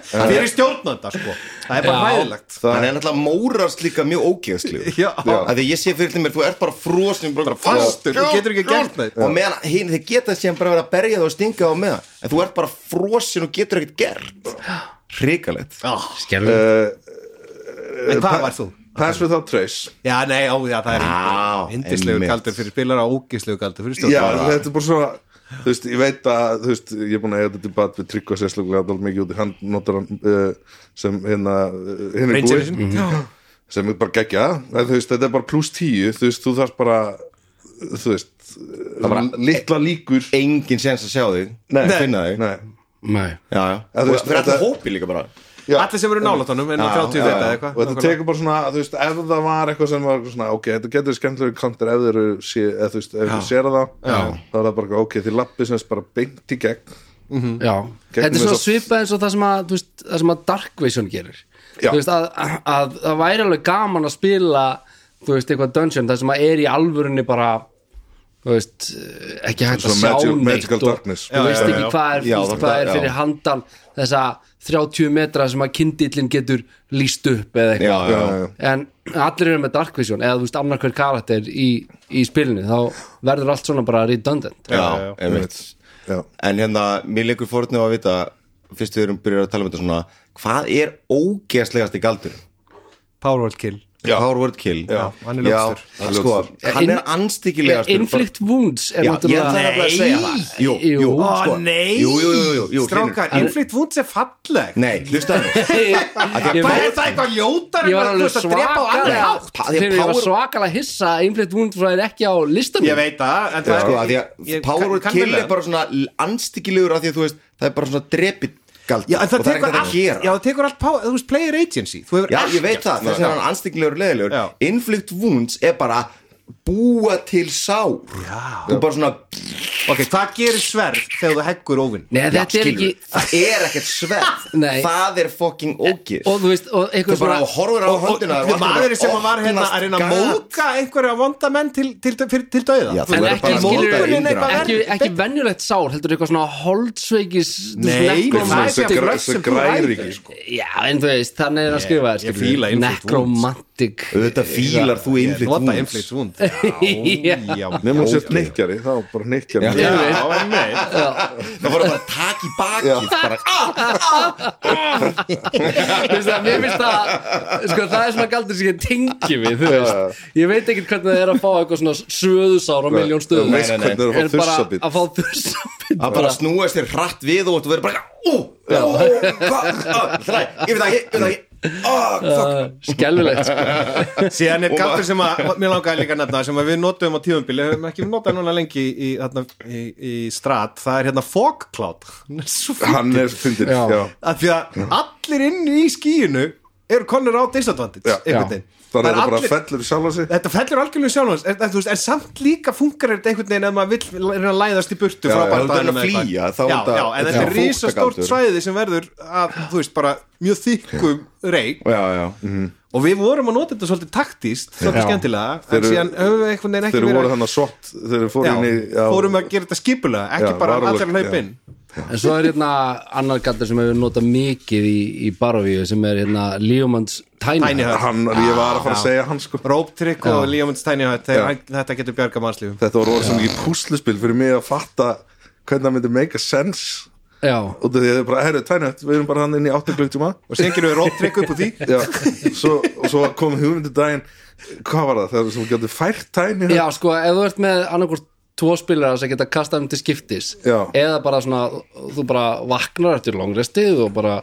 [SPEAKER 2] Fyrir stjórnanda sko, það er bara hæðilegt
[SPEAKER 4] Það-
[SPEAKER 1] Hann er náttúrulega mórast líka mjög [LAUGHS] ógeðslegur
[SPEAKER 2] Já.
[SPEAKER 1] Af Því ég sé fyrir til mér, þú ert bara frosnum bara
[SPEAKER 2] fastur, þú getur ekki gert neitt.
[SPEAKER 1] Og meðan hinn, þið geta síðan bara verið að berja það og stinga á meðan En þú ert bara frosin og getur ekkert gert Hrikalegt
[SPEAKER 2] oh,
[SPEAKER 3] skerfið
[SPEAKER 2] En hvað var þú?
[SPEAKER 4] Pass without trace
[SPEAKER 2] Já, nei, ó, já,
[SPEAKER 1] Já,
[SPEAKER 2] það er hindislegu
[SPEAKER 1] einmitt.
[SPEAKER 2] galdur fyrir spilara og ógislegu galdur fyrir
[SPEAKER 4] Já,
[SPEAKER 2] stjórnanda
[SPEAKER 4] þetta er bara svona Þú veist, ég veit að, þú veist, ég er búin að eiga þetta debat við Tryggva sérstaklega að mikið út í hann notar hann uh, sem hérna uh, hinn er
[SPEAKER 2] Rangerinn?
[SPEAKER 4] búið sem er bara geggja, en þú veist, þetta er bara pluss tíu þú veist, þú þarf bara þú veist, bara, litla líkur
[SPEAKER 1] Engin séns að sjá þig Nei, finna þig
[SPEAKER 4] Nei,
[SPEAKER 3] Nei.
[SPEAKER 1] Já, já
[SPEAKER 4] Ja, þú
[SPEAKER 1] Og
[SPEAKER 4] veist,
[SPEAKER 1] Fyrir
[SPEAKER 4] þetta-
[SPEAKER 1] allir hópi líka bara
[SPEAKER 4] já.
[SPEAKER 2] Allir sem eru nálat honum, en á 30 þetta eða
[SPEAKER 4] og
[SPEAKER 2] eitthvað
[SPEAKER 4] þetta tekur bara svona, þú veist, ef það var eitthvað sem var svona, ok, þetta getur skemmtilegur kantur ef þeir eru, sé, eða þú veist, ef þeir séra það þá er það bara, ok, því lappi sem þess bara beint í gegn Hm.
[SPEAKER 3] Já, þetta er
[SPEAKER 4] eins
[SPEAKER 3] svona
[SPEAKER 4] og-
[SPEAKER 3] svipað eins og það sem að, þú veist, það sem að Dark Vision gerir
[SPEAKER 4] Já.
[SPEAKER 3] Þú veist, að, að, að það væri alveg gaman að spila þú veist, eitthvað dungeon, það sem að er í alvörinni bara þú veist, ekki hægt að
[SPEAKER 4] Svona
[SPEAKER 3] sjá
[SPEAKER 4] magic-
[SPEAKER 3] neitt
[SPEAKER 4] magical
[SPEAKER 3] og,
[SPEAKER 4] darkness.
[SPEAKER 3] þú
[SPEAKER 4] Já,
[SPEAKER 3] veist
[SPEAKER 4] já,
[SPEAKER 3] ekki
[SPEAKER 4] já.
[SPEAKER 3] hvað er,
[SPEAKER 1] Já,
[SPEAKER 3] já,
[SPEAKER 1] það-
[SPEAKER 3] hvað er
[SPEAKER 1] já.
[SPEAKER 3] fyrir handan þessa 30 metra sem að kindillin getur líst upp eða
[SPEAKER 1] Já,
[SPEAKER 3] eitthvað
[SPEAKER 1] já, já
[SPEAKER 3] en allir eru með Dark Vision eða þú veist, annarkver karakter í, í spilinu þá verður allt svona bara redundant
[SPEAKER 2] já, já.
[SPEAKER 1] já, einmitt
[SPEAKER 4] Já.
[SPEAKER 1] en hérna, mér leikur fórnum að vita fyrst við erum byrjað að tala um þetta svona hvað er ógeðslegasti galdur?
[SPEAKER 2] Powerwall kill
[SPEAKER 1] Power word kill
[SPEAKER 2] Já, hann er ljótstur.
[SPEAKER 1] hann, sko, hann er anstyggilegastur
[SPEAKER 3] Inflict Wounds er
[SPEAKER 1] Já, ég
[SPEAKER 3] náttúrulega
[SPEAKER 1] ætla nefnilega að segja það.
[SPEAKER 3] Jú,
[SPEAKER 1] Jú,
[SPEAKER 3] jú.
[SPEAKER 1] Ó,
[SPEAKER 2] Ó,
[SPEAKER 1] sko.
[SPEAKER 2] nei
[SPEAKER 1] Jú, jú, jú, jú, jú,
[SPEAKER 2] Strákar,
[SPEAKER 1] Hlynur.
[SPEAKER 2] Inflitt Woods er falleg
[SPEAKER 1] Nei, hlusta
[SPEAKER 2] [LAUGHS]
[SPEAKER 1] hann
[SPEAKER 3] Ég,
[SPEAKER 2] Hvað er það eitthvað ljótar
[SPEAKER 3] ég var alveg svakalega
[SPEAKER 1] hátt.
[SPEAKER 3] Þegar ég var
[SPEAKER 1] Power-
[SPEAKER 3] svakalega hissa að Inflict Wound fræðir ekki á listanum
[SPEAKER 2] Ég veit það, en það
[SPEAKER 1] sko, að því að
[SPEAKER 2] ég-
[SPEAKER 1] Power
[SPEAKER 2] kann-
[SPEAKER 1] word
[SPEAKER 2] kann
[SPEAKER 1] kill
[SPEAKER 2] vel
[SPEAKER 1] er
[SPEAKER 2] það.
[SPEAKER 1] bara svona anstíkilegur af því að þú veist, það er bara svona drepið galdur
[SPEAKER 2] Já, en það
[SPEAKER 1] og það er
[SPEAKER 2] tekur
[SPEAKER 1] ekkert
[SPEAKER 2] allt
[SPEAKER 1] að
[SPEAKER 2] Já,
[SPEAKER 1] gera
[SPEAKER 2] það tekur allt power, þú veist, player agency Þú hefur
[SPEAKER 1] Já,
[SPEAKER 2] ekkert-
[SPEAKER 1] ég veit það, þess vegna er hann anstíkilegur og leðilegur
[SPEAKER 2] Já.
[SPEAKER 1] Inflict wounds er bara búa til sár
[SPEAKER 2] Já.
[SPEAKER 1] og bara svona
[SPEAKER 2] Ok, hvað gerir sverð þegar þú heggur óvinn?
[SPEAKER 3] Nei,
[SPEAKER 1] Já,
[SPEAKER 3] þetta er
[SPEAKER 1] skilur.
[SPEAKER 3] ekki
[SPEAKER 1] Það er ekkert sverð
[SPEAKER 3] Nei.
[SPEAKER 1] Það er fucking ógir
[SPEAKER 3] Og þú veist, og
[SPEAKER 1] Þú
[SPEAKER 3] eitthvað
[SPEAKER 1] bara horfir á
[SPEAKER 2] Og- og-
[SPEAKER 1] höndina
[SPEAKER 2] og maður sem var hérna að reyna að móka einhverja vonda menn til, til, til, til dauða
[SPEAKER 1] Já, þú
[SPEAKER 3] En
[SPEAKER 1] verður
[SPEAKER 3] ekki,
[SPEAKER 1] bara að
[SPEAKER 3] skilur,
[SPEAKER 1] nota
[SPEAKER 2] Mókunin
[SPEAKER 1] yngra.
[SPEAKER 2] eitthvað
[SPEAKER 3] ekki,
[SPEAKER 2] verri.
[SPEAKER 3] ekki venjulegt sár heldur eitthvað svona holdsveikis þú veist,
[SPEAKER 2] Nei, sko,
[SPEAKER 3] nekrómanti-
[SPEAKER 2] það er
[SPEAKER 4] Þessi
[SPEAKER 2] þegar
[SPEAKER 4] gr-
[SPEAKER 2] rödd sem
[SPEAKER 4] þessi
[SPEAKER 2] þú ræður.
[SPEAKER 4] græri sko.
[SPEAKER 3] Já, en þú veist, þannig er að skrifa
[SPEAKER 2] ég fíla Inflict Wounds.
[SPEAKER 3] Necromantic
[SPEAKER 1] Auðvitað fílar þú inflict
[SPEAKER 2] Nota
[SPEAKER 1] wounds
[SPEAKER 2] inflikt [LAUGHS] vund
[SPEAKER 3] Já.
[SPEAKER 2] já,
[SPEAKER 4] Nefnum að sért neikjari, þá bara neikjari
[SPEAKER 3] Ég
[SPEAKER 4] Já,
[SPEAKER 3] veit.
[SPEAKER 1] Það voru bara að taka í bakið bara,
[SPEAKER 3] Þú veist það, mér finnst það sko, það er svona galdur sem ég tengi við þú veist, ég veit ekkert hvernig það er að fá eitthvað svona söðusár á miljón stöðum
[SPEAKER 4] Veist
[SPEAKER 1] Nei, nei, nei.
[SPEAKER 4] hvernig
[SPEAKER 3] en
[SPEAKER 4] það er að fá
[SPEAKER 3] bara
[SPEAKER 4] þursabít
[SPEAKER 3] að fá þursabít
[SPEAKER 1] að bara snúa sér hratt við og þú verður bara Ó, ó, hvað, Ah, ó, þræ, ég veit ekki, ég veit ekki Ó, Ah, fuck
[SPEAKER 3] skelvilegt sko.
[SPEAKER 2] Síðan er galdur sem að, mér langaði líka að nefna sem að við notum á tífumbili, höfum ekki notað núna lengi í, í, þarna, í, í strat það er hérna fog cloud [LAUGHS] Hann er svo fín.
[SPEAKER 4] Hann er fyndin
[SPEAKER 3] Já.
[SPEAKER 4] já.
[SPEAKER 2] að því að allir inni í skíinu eru konur á disadvantage
[SPEAKER 4] Já.
[SPEAKER 2] einhvern veginn.
[SPEAKER 4] Þannig að
[SPEAKER 2] Það
[SPEAKER 4] það
[SPEAKER 2] er
[SPEAKER 4] bara
[SPEAKER 2] allir-
[SPEAKER 4] fellur í sjálfa sig
[SPEAKER 2] Þetta fellur algjörlega sjálfans en, en, þú veist, en samt líka funkar þetta einhvern veginn ef maður vill reyna að læðast í burtu
[SPEAKER 4] Já,
[SPEAKER 2] frá
[SPEAKER 4] já,
[SPEAKER 2] bardaganum
[SPEAKER 1] þú ert að reyna að flýja,
[SPEAKER 2] eða eitthvað.
[SPEAKER 1] þá er
[SPEAKER 2] já,
[SPEAKER 1] þetta-
[SPEAKER 2] já, en
[SPEAKER 1] þetta
[SPEAKER 2] þetta
[SPEAKER 1] er
[SPEAKER 2] er risastórt
[SPEAKER 1] fótagaldur.
[SPEAKER 2] svæði sem verður að, þú veist, bara mjög þykkum reik
[SPEAKER 1] Já, já,
[SPEAKER 2] og við vorum að nota þetta svolítið taktíst svolítið
[SPEAKER 3] Já.
[SPEAKER 2] skemmtilega, en
[SPEAKER 4] Þeir-
[SPEAKER 2] síðan höfum við einhvern veginn ekki
[SPEAKER 4] Þeir
[SPEAKER 2] verið
[SPEAKER 4] voru hann að svott Þeir fóru inn í
[SPEAKER 2] já, fórum að gera þetta skipulega ekki
[SPEAKER 4] Já,
[SPEAKER 2] bara
[SPEAKER 4] varúlfur,
[SPEAKER 2] allir
[SPEAKER 4] já.
[SPEAKER 2] hlaupin
[SPEAKER 3] en svo er hérna annar galdur sem hefur notað mikið í, í Barovíu sem er hérna Líumanns Tiny
[SPEAKER 2] Tiny
[SPEAKER 3] Hut.
[SPEAKER 2] Hut.
[SPEAKER 4] hann, Ég var að fara að
[SPEAKER 2] Já.
[SPEAKER 4] segja hann sko
[SPEAKER 2] rope trick og Líamunds Tiny Hut þeir-
[SPEAKER 4] Já.
[SPEAKER 2] hann- þetta getur bjarga mannslífum
[SPEAKER 4] Þetta var orðið sem ekki púsluspil fyrir mig að fatta hvernig það myndi make a sense
[SPEAKER 3] já,
[SPEAKER 4] og því að þið bara, herru, tænjögt, við erum bara hann inn í 8 klukktíma
[SPEAKER 2] og síðan gerum við rope trick upp úr því
[SPEAKER 4] Já, svo, og svo kom hugmyndu daginn hvað var það, það sem gæti fært tæni
[SPEAKER 3] já sko, ef þú ert með annarkvort tvo spilarar sem geta kastað um til skiptis
[SPEAKER 4] Já.
[SPEAKER 3] eða bara svona, þú bara vaknar eftir longrestið og bara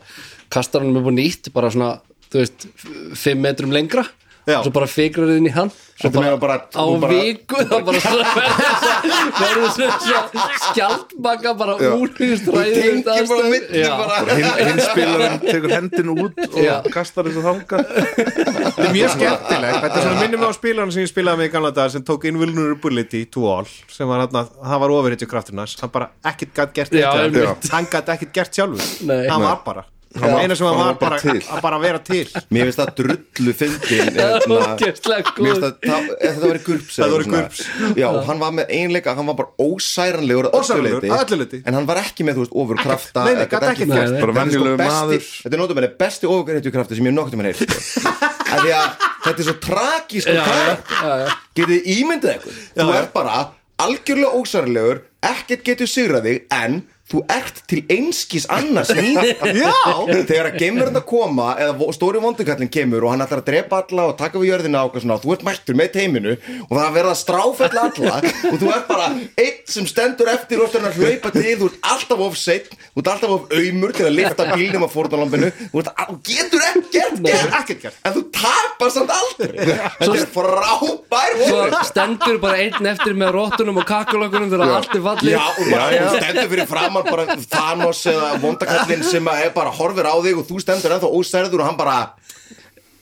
[SPEAKER 3] kastar hann upp og nýtt, bara svona þú veist, f- fimm metrum lengra
[SPEAKER 1] Já.
[SPEAKER 3] svo bara fikrar þið inn í hann svo
[SPEAKER 1] Þetta meina bara-
[SPEAKER 3] á
[SPEAKER 1] þú bara-
[SPEAKER 3] viku þá bara svona verður þess að verður þess að skjaldbaka bara úr því stræðið
[SPEAKER 1] Þú tengir bara á milli bara.
[SPEAKER 4] hinn, hinn spilarinn tekur hendin út og
[SPEAKER 3] Já.
[SPEAKER 4] kastar þessu þanga
[SPEAKER 2] Þetta er mjög skemmtilegt, þetta er svona minnum á spilarinn sem ég spilaði með í gamla dagar sem tók invulnerability to all sem var hann hann var ofurhittu krafturinn hans hann bara ekkert gætt gert
[SPEAKER 3] Já,
[SPEAKER 2] neitt.
[SPEAKER 3] einmitt.
[SPEAKER 2] hann gætt ekkert gert sjálfur
[SPEAKER 3] Nei.
[SPEAKER 2] hann var bara,
[SPEAKER 4] var-
[SPEAKER 2] eina sem hann var bara
[SPEAKER 4] til.
[SPEAKER 2] að bara vera til
[SPEAKER 1] Mér finnst það drullu fyndin
[SPEAKER 3] Það
[SPEAKER 1] hérna,
[SPEAKER 3] var ógeðslega góð.
[SPEAKER 1] Mér finnst það, það, þetta var í gurps
[SPEAKER 2] Það
[SPEAKER 1] eða
[SPEAKER 2] voru
[SPEAKER 1] svona.
[SPEAKER 2] GURPS.
[SPEAKER 1] Já, og hann var með einleika, hann var bara ósæranlegur að öllu
[SPEAKER 2] Ósæranlegur,
[SPEAKER 1] leyti.
[SPEAKER 2] að öllu leyti.
[SPEAKER 1] En hann var ekki með, þú veist, ofurkrafta
[SPEAKER 2] Nei, nei, gat ekkert gert.
[SPEAKER 3] Nei, nei.
[SPEAKER 4] bara
[SPEAKER 1] Þetta er sko
[SPEAKER 4] venjulegu
[SPEAKER 1] besti,
[SPEAKER 4] maður
[SPEAKER 1] þetta er nótum henni besti ofurkrafti sem ég hef nokt um henni heilt sko. Af því að þetta er svo tragísk og tragísk Getið þið ímyndið eitthvað Þú ert bara algjörlega ósæranlegur ekkert getur sigrað þig en þú ert til einskis annars ný Já Þegar að geimverðin að koma eða vo- stóri vondukallin kemur og hann ætlar að drepa alla og taka við jörðina og eitthvað svona þú ert mættur með teiminu og það verða að stráfella alla og þú ert bara einn sem stendur eftir og stendur að hlaupa til þú ert alltaf of seitt þú ert alltaf of aumur til að lifta bílnum af fórnalambinu þú ert að, getur ekkert gert,
[SPEAKER 2] ekkert gert.
[SPEAKER 1] en þú tapar samt aldrei þetta er frábær
[SPEAKER 3] Svo
[SPEAKER 1] vonur
[SPEAKER 3] stendur bara einn eftir með rótunum og kakalökunum þegar allt er fallið
[SPEAKER 1] Já, og bara, þú stendur fyrir framann bara Thanos eða vondakallin sem að er bara horfir á þig og þú stendur ennþá ósærður og hann bara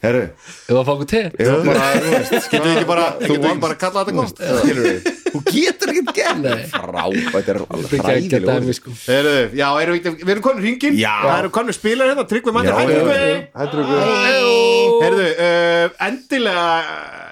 [SPEAKER 1] Herru,
[SPEAKER 3] Ef að fá okkur te
[SPEAKER 1] ég var bara, þú veist, getur við ekki bara getur við ekki bara að kalla þetta gott skilur við, þú getur ekki gert
[SPEAKER 3] Nei.
[SPEAKER 1] frábært, þetta er
[SPEAKER 3] Þetta er ekki að
[SPEAKER 1] fræðileg
[SPEAKER 3] dæmi
[SPEAKER 1] orð.
[SPEAKER 3] sko
[SPEAKER 2] Heru, já, erum við, við erum konur hringin
[SPEAKER 1] Já.
[SPEAKER 2] það eru konur spilar hérna, tryggvið
[SPEAKER 1] Já,
[SPEAKER 2] mættir
[SPEAKER 1] já,
[SPEAKER 2] hættu
[SPEAKER 1] Hæ.
[SPEAKER 2] Herðu, uh, endilega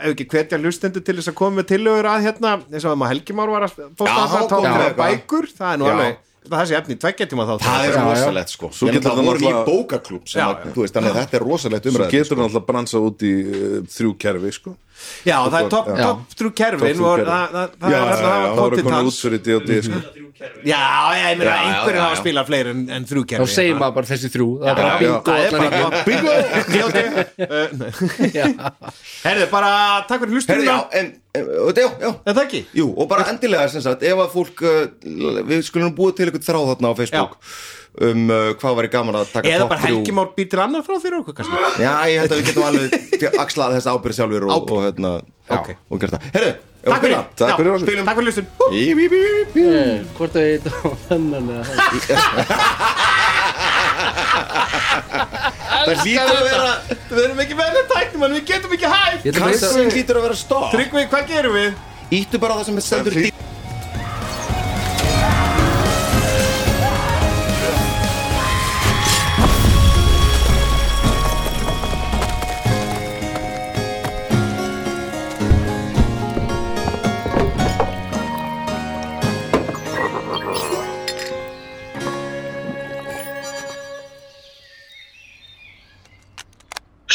[SPEAKER 2] ef ekki hvetja hlustendur til þess að koma með tillögur að hérna, eins og að maður Helgi Már var að
[SPEAKER 1] Já,
[SPEAKER 2] fósta að
[SPEAKER 1] kom
[SPEAKER 2] tóka
[SPEAKER 1] með
[SPEAKER 2] með
[SPEAKER 1] eitthvað.
[SPEAKER 2] bækur, það er nú
[SPEAKER 1] Já.
[SPEAKER 2] alveg það er þessi efni, tveggja tíma þá
[SPEAKER 1] það er
[SPEAKER 3] Já, já.
[SPEAKER 1] rosalegt sko
[SPEAKER 4] Svo
[SPEAKER 1] Ég meina,
[SPEAKER 4] getur
[SPEAKER 1] það
[SPEAKER 4] það
[SPEAKER 1] vorum í
[SPEAKER 4] náttúrulega-
[SPEAKER 1] bókaklúb sem
[SPEAKER 2] Já,
[SPEAKER 1] að,
[SPEAKER 2] já.
[SPEAKER 1] þú veist, þannig að þetta er rosalegt sko.
[SPEAKER 4] svo
[SPEAKER 1] umræð
[SPEAKER 4] getur hann alltaf bransa út í uh, þrjú kerfi sko
[SPEAKER 2] Já, það er topp
[SPEAKER 3] Já.
[SPEAKER 2] top þrjú kerfin
[SPEAKER 4] Topp þrjú
[SPEAKER 2] og
[SPEAKER 4] kerfin.
[SPEAKER 2] það, það, það
[SPEAKER 1] Já, já, já,
[SPEAKER 2] er alltaf
[SPEAKER 4] það voru
[SPEAKER 2] kvotið
[SPEAKER 4] konar út
[SPEAKER 2] tans
[SPEAKER 4] fyrir D&D sko.
[SPEAKER 2] Já, já, ég meina
[SPEAKER 1] Já, já,
[SPEAKER 2] einhverju
[SPEAKER 1] já,
[SPEAKER 2] hafa
[SPEAKER 1] já.
[SPEAKER 2] spilað fleiri en, en þrjú
[SPEAKER 3] Þá
[SPEAKER 2] kerfin
[SPEAKER 3] segir maður bara þessi þrjú Það er bara
[SPEAKER 4] já.
[SPEAKER 3] bingo
[SPEAKER 2] Það er
[SPEAKER 3] allan ekki
[SPEAKER 2] bara bingo Bingo Herðu, bara takk fyrir
[SPEAKER 1] Herri, já,
[SPEAKER 2] hlustunum
[SPEAKER 1] en, en, og þetta, já, já
[SPEAKER 2] En það ekki
[SPEAKER 1] Jú, og bara endilega sem sagt, ef að fólk uh, við skulum búið til eitthvað þráð þarna á Facebook um uh, hvað væri gaman að taka
[SPEAKER 2] Eða
[SPEAKER 1] topp
[SPEAKER 2] bara
[SPEAKER 1] þrjú.
[SPEAKER 2] Helgi Már býtir annað frá fyrir okkur kannski
[SPEAKER 1] Já, ég held að við getum alveg [LAUGHS] axlað þess ábyrð sjálfur og, og, hérna,
[SPEAKER 2] Ok.
[SPEAKER 1] og, og gert það Herru,
[SPEAKER 2] Takk fyrir
[SPEAKER 4] Takk fyrir okkur.
[SPEAKER 2] Takk fyrir hlustun Hú
[SPEAKER 1] fyrir
[SPEAKER 3] Eh, Hvort að ég þetta á þennan eða
[SPEAKER 1] Það hlýtur að vera
[SPEAKER 2] Við erum ekki með þetta tæknum en við getum ekki hægt
[SPEAKER 3] Ég ætla bara að
[SPEAKER 1] Kassin hlýtur að vera stopp
[SPEAKER 2] Tryggvi, hvað gerum við?
[SPEAKER 1] Íttu bara á það sem er stendur
[SPEAKER 4] Það
[SPEAKER 1] dýr
[SPEAKER 4] hlýtur-